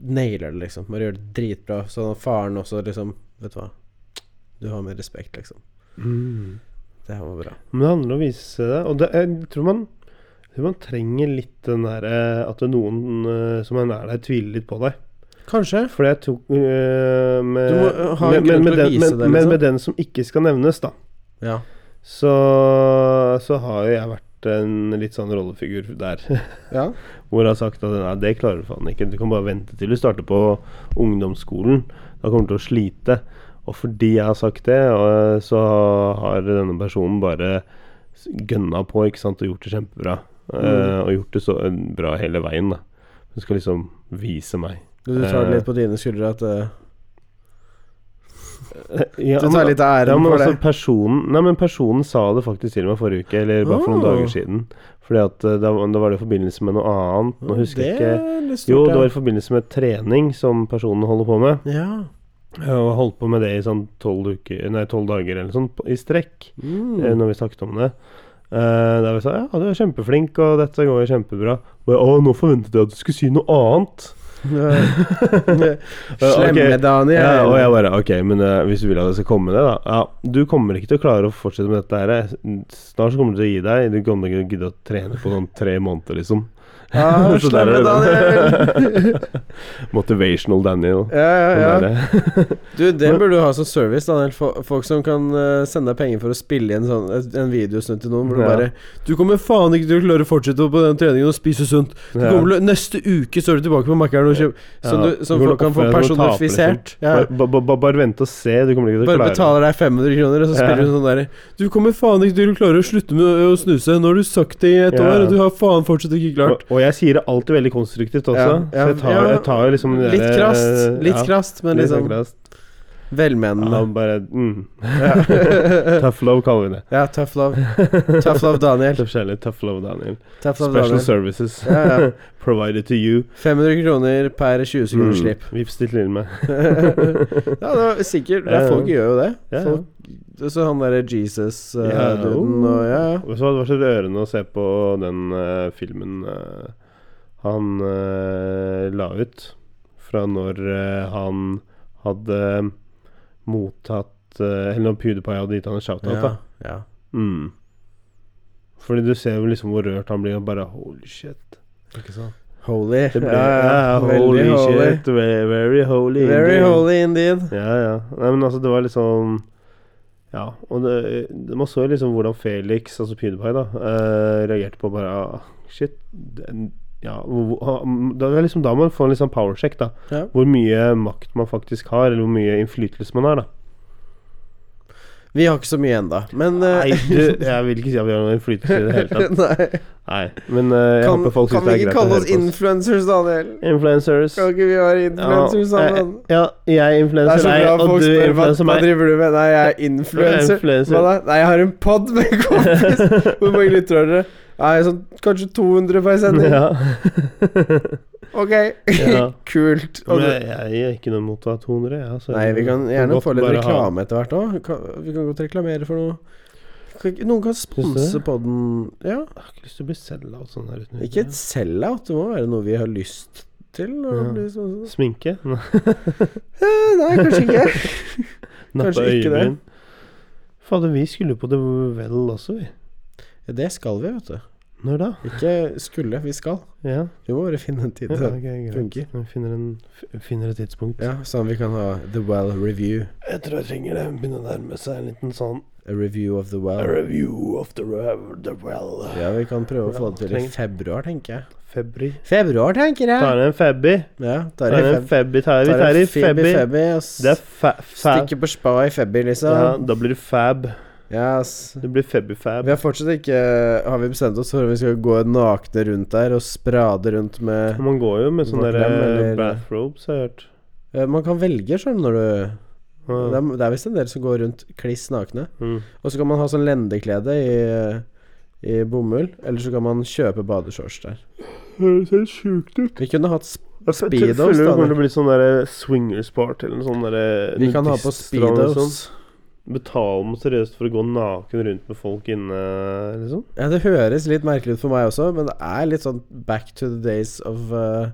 nailer det, liksom. Bare gjør det dritbra. Sånn at faren også liksom Vet du hva, du har min respekt, liksom. Mm. Det her var bra. Men det handler om å vise det. Og det, jeg tror man, jeg tror man trenger litt den der eh, at det er noen eh, som er nær deg, tviler litt på deg. Kanskje. For jeg tok eh, med, Du må, eh, ha en med, grunn med, til med, å den, vise med, det, med, liksom. med den som ikke skal nevnes, da. Ja. Så, så har jo jeg vært en litt sånn rollefigur der. ja. Hvor jeg har sagt at nei, det klarer du faen ikke. Du kan bare vente til du starter på ungdomsskolen. Da kommer du til å slite. Og fordi jeg har sagt det, og, så har denne personen bare s- gønna på ikke sant, og gjort det kjempebra. Eh, Mm. og gjort det så eh, bra hele veien, da. Du skal liksom vise meg. Du, du tar det Eh. litt på dine skuldre at eh, Ja, Du tar litt av ja, æren men for det. altså personen, nei, men personen sa det faktisk til meg forrige uke, eller bare for noen Oh. dager siden. Fordi at eh, da, da var det i forbindelse med noe annet. Nå husker jeg ikke er litt Jo, stort, det var i forbindelse med trening som personen holder på med. ja. Og holdt på med det i sånn tolv dager eller sånn på- i strekk, Mm. eh, når vi snakket om det. Eh, der vi sa ja, du er kjempeflink, og dette går jo kjempebra. Og jeg, å, nå forventet jeg at du skulle si noe annet. Mm. Slemme Ok. Daniel. Ja, og jeg bare ok, men eh, hvis du vil at jeg skal komme med det, da. Ja, du kommer ikke til å klare å fortsette med dette her. Snart så kommer du til å gi deg. Du kommer ikke til å gidde å trene på sånn tre måneder, liksom. ah, Så der slemme er Daniel. det. Motivational Daniel. Ja, ja, Sånn ja. er det. Du, det burde du ha som service, Daniel. Fo- Folk som kan eh, sende deg penger for å spille inn sånn, et- en videosnutt til noen hvor du Ja. bare Du kommer faen ikke til å klare å fortsette på den treningen og spise sunt. Du Ja. kommer, til å- neste uke så er du tilbake på Mækkern og kjøper Som, Ja, du, som du kommer folk kan til å få oppføre deg som taper, liksom. personifisert. Ja. Bare, ba- ba- bare vent og se, du kommer ikke til å Bare klare det. betaler deg 500 kroner, og så Ja. spiller du sånn derre Du kommer faen ikke til å klare å slutte med å- å snuse. Nå har du sagt det i et Ja. år, og du har faen fortsatt ikke klart. Og, og jeg sier det alltid veldig konstruktivt også, Ja, ja, så jeg tar, ja. jeg tar jo liksom det Litt der, krast. eh, Litt ja, krast, men litt liksom krast. Ja, Velmenende. bare mm. Ja. Tough love kaller vi det. ja, tough love. Tough love, Daniel. Tough kjærlighet, tough love, Daniel. Tough love, Special Daniel. services Ja, ja. provided to you. 500 kroner per 20 sekunders Mm. slipp. Vips ditt lille meg. ja, det var sikkert. Ja, Ja, ja. folk gjør jo det. Ja, ja. Folk, så han derre Jesus-duden Ja, oh. og ja, ja. Og så var det så rørende å se på den eh, filmen eh, han eh, la ut fra når eh, han hadde mottatt eh, Eller når PewDiePie hadde gitt han en shoutout. ja, da. ja. Mm. Fordi du ser jo liksom hvor rørt han blir, og bare holy shit. Ikke sant? Holy. Det ble, ja, ja. ja, holy, Veldig holy. shit. Very, very holy. Very indeed. holy indeed. Ja, ja. Nei, men altså, det var liksom Ja. Og det, det- man så jo liksom hvordan Felix, altså PewDiePie, da, eh, reagerte på bare ah, Shit. Den, ja, hvor- hvor- da, er det liksom, da man får en liksom powersjekk, da. Ja. Hvor mye makt man faktisk har, eller hvor mye innflytelse man har, da. Vi har ikke så mye ennå, men Nei, eh, du, jeg vil ikke si at vi har noen innflytelse i det hele tatt. Nei. Nei, men eh, jeg Kan, håper folk kan syns vi det er ikke greit å kalle høre oss på oss. influencers, Daniel? Influencers. Kan ikke vi være Ja, influencers jeg, sammen? ja, jeg er Det er influenser, så jeg, bra og folk du spør hva, influenser hva meg. driver du med. Nei, jeg er Du er influenser. influencer. Hva da? Nei, jeg har en pod med kompis. Hvor mange lytter har dere? Nei, sånn kanskje 200 per sending. Ja. Ok, Ja. kult. Og Men du- jeg, jeg er ikke noe mot å ha 200. Jeg, altså. Nei, vi kan gjerne godt få litt bare ha- reklame etter hvert òg. Vi kan godt reklamere for noe. Kan ikke- Noen kan du sponse det? podden Ja, Jeg har ikke lyst til å bli sellout sånn her uten ikke et sellout. Det må være noe vi har lyst til. å Ja. bli sponset. Sminke? Eh, Nei, kanskje ikke. Nappe ikke det. øyebryn? Fader, vi skulle på The Well også, vi. Ja, Det skal vi, vet du. Når da? Ikke skulle, vi skal. Ja. Vi må bare finne en tid. ja til det. ok, greit. funker. Vi finner, en, f- finner et tidspunkt. Ja, Sånn vi kan ha The Well Review. Jeg tror jeg trenger det. Begynner å nærme seg en liten sånn A review of the A well. review of The, re- the Well. Ja, vi kan prøve å få det til i Trenger- februar, tenker jeg. Febri. Februar, tenker jeg. Tar en Febbi. Ja, tar Tar i en feb. Febbi. Tar vi Tar tar i i Febby, Febbi. Febby, ass. Det er fa... fa Stikke på spa i Febby, ja, liksom. da blir det fab. Ja, ass. Det blir Febbi-fab. Vi har fortsatt ikke Har vi bestemt oss for om vi skal gå nakne rundt der og sprade rundt med Man går jo med sånne Vårt lem, der eller- bathrobes, har jeg hørt. Eh, Man kan velge, skjønner du. Det Ja. er, det er visst en del som går rundt kliss nakne. Mm. Og så kan man ha sånn lendeklede i, i bomull. Eller så kan man kjøpe badeshorts der. Høres helt sjukt ut. Vi kunne hatt Jeg speedos, føler det da. kommer til å bli sånn der swingerspart eller noe sånn der Vi kan ha på nudiststrand eller speedos. Sånn. Betaler man seriøst for å gå naken rundt med folk inne, liksom? Ja, det høres litt merkelig ut for meg også, men det er litt sånn back to the days of uh,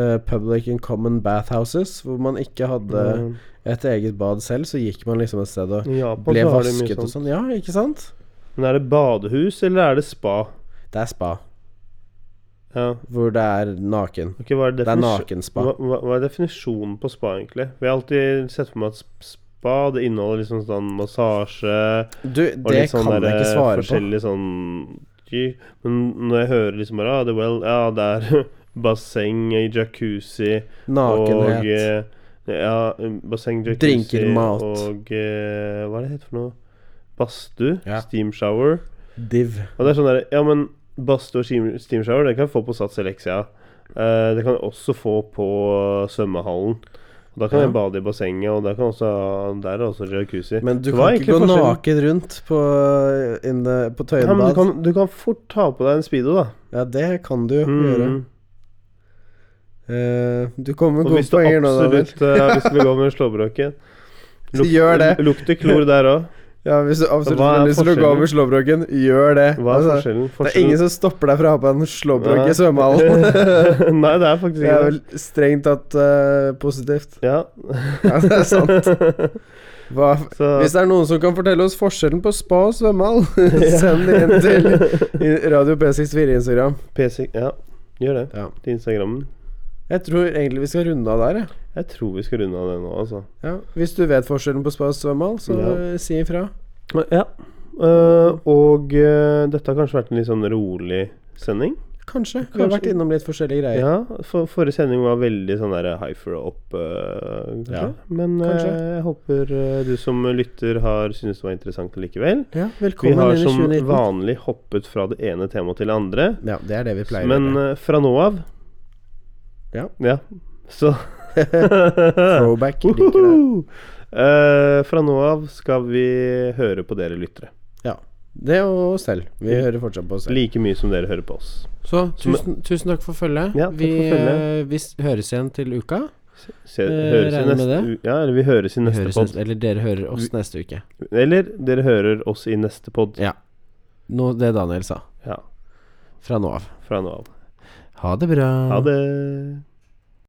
uh, public and common bathhouses, hvor man ikke hadde Mm. et eget bad selv, så gikk man liksom et sted og I Japan ble så har de mye vasket og sånt. sånn. Ja, ikke sant? Men er det badehus, eller er det spa? Det er spa, Ja. hvor det er naken. Ok, hva er Det er definisjonen nakenspa. hva, hva hva er definisjonen på spa, egentlig? Vi har alltid sett for meg at sp- spa det inneholder liksom sånn massasje Du, Og det litt sånn kan jeg der, ikke svare på. forskjellig sånn gy- Men når jeg hører liksom bare ah, the well, Ja, det er basseng, jacuzzi og Nakenhet. eh, Ja, um, basseng, jacuzzi Drinker, mat. Og eh, hva er det heter for noe? Badstue? Ja. Steam shower. Div. Og det er sånn der Ja, men badstue og steam steam shower, det kan jeg få på Sats Elexia. Eh, det kan jeg også få på svømmehallen. Og Da kan Ja. jeg bade i bassenget, og der, kan også, der er det også jacuzzi. Men du Så hva kan er ikke egentlig gå forskjellen? naken rundt på, in the, på Ja, men du Tøyenbad. kan, du kan fort ta på deg en speedo, da. Ja, det kan du jo gjøre. Mm. Eh, du kommer med Og hvis gode du poenger nå, Daniel. absolutt eh, Hvis du vil gå med slåbroken Så gjør det. Lukter klor der òg. Ja, hvis du absolutt Hva er har lyst til å gå forskjellen? med slåbroken, gjør det. Hva er Altså, forskjellen? det er ingen som stopper deg fra å ha på en slåbrok i svømmehallen. Forskjellen- Nei, det er faktisk Det er ikke vel det. strengt tatt eh, positivt. Ja. Ja, det er sant. Hva, Så hvis det er noen som kan fortelle oss forskjellen på spa og svømmehall, send det inn til i Radio P64 Instagram. PC Ja, gjør det. Ja. Til Instagrammen. Jeg tror egentlig vi skal runde av der, jeg. Jeg tror vi skal runde av det nå, altså. Ja. Hvis du vet forskjellen på spa og svømmehall, så Ja. eh, si ifra. Ja. Eh, og eh, dette har kanskje vært en litt sånn rolig sending. Kanskje. Vi har Kanskje. vært innom litt forskjellige greier. Ja, for, forrige sending var veldig sånn der hyfer opp, øh, kanskje. Ja, Men øh, kanskje. jeg håper øh, du som lytter har syntes det var interessant likevel. Ja, Vi velkommen har inn i som 2019. vanlig hoppet fra det ene temaet til det andre. Ja, det er det vi pleier å Men gjøre. øh, fra nå av Ja. Så eh, Throwback. liker det. Uhuhu! Eh, fra nå av skal vi høre på dere lyttere. Det og oss selv. Vi hører fortsatt på oss selv. Like mye som dere hører på oss. Så tusen, tusen takk for følget. Ja, takk vi, for følget. eh, vi s- høres igjen til uka. Se, Eh, høres i regner med neste, u- ja, eller vi høres i Vi neste høres pod. neste, eller dere hører oss neste uke. Eller dere hører oss i neste pod. Ja. Nå, det Daniel sa. Ja, Fra nå av. fra nå av. Ha det bra. Ha det.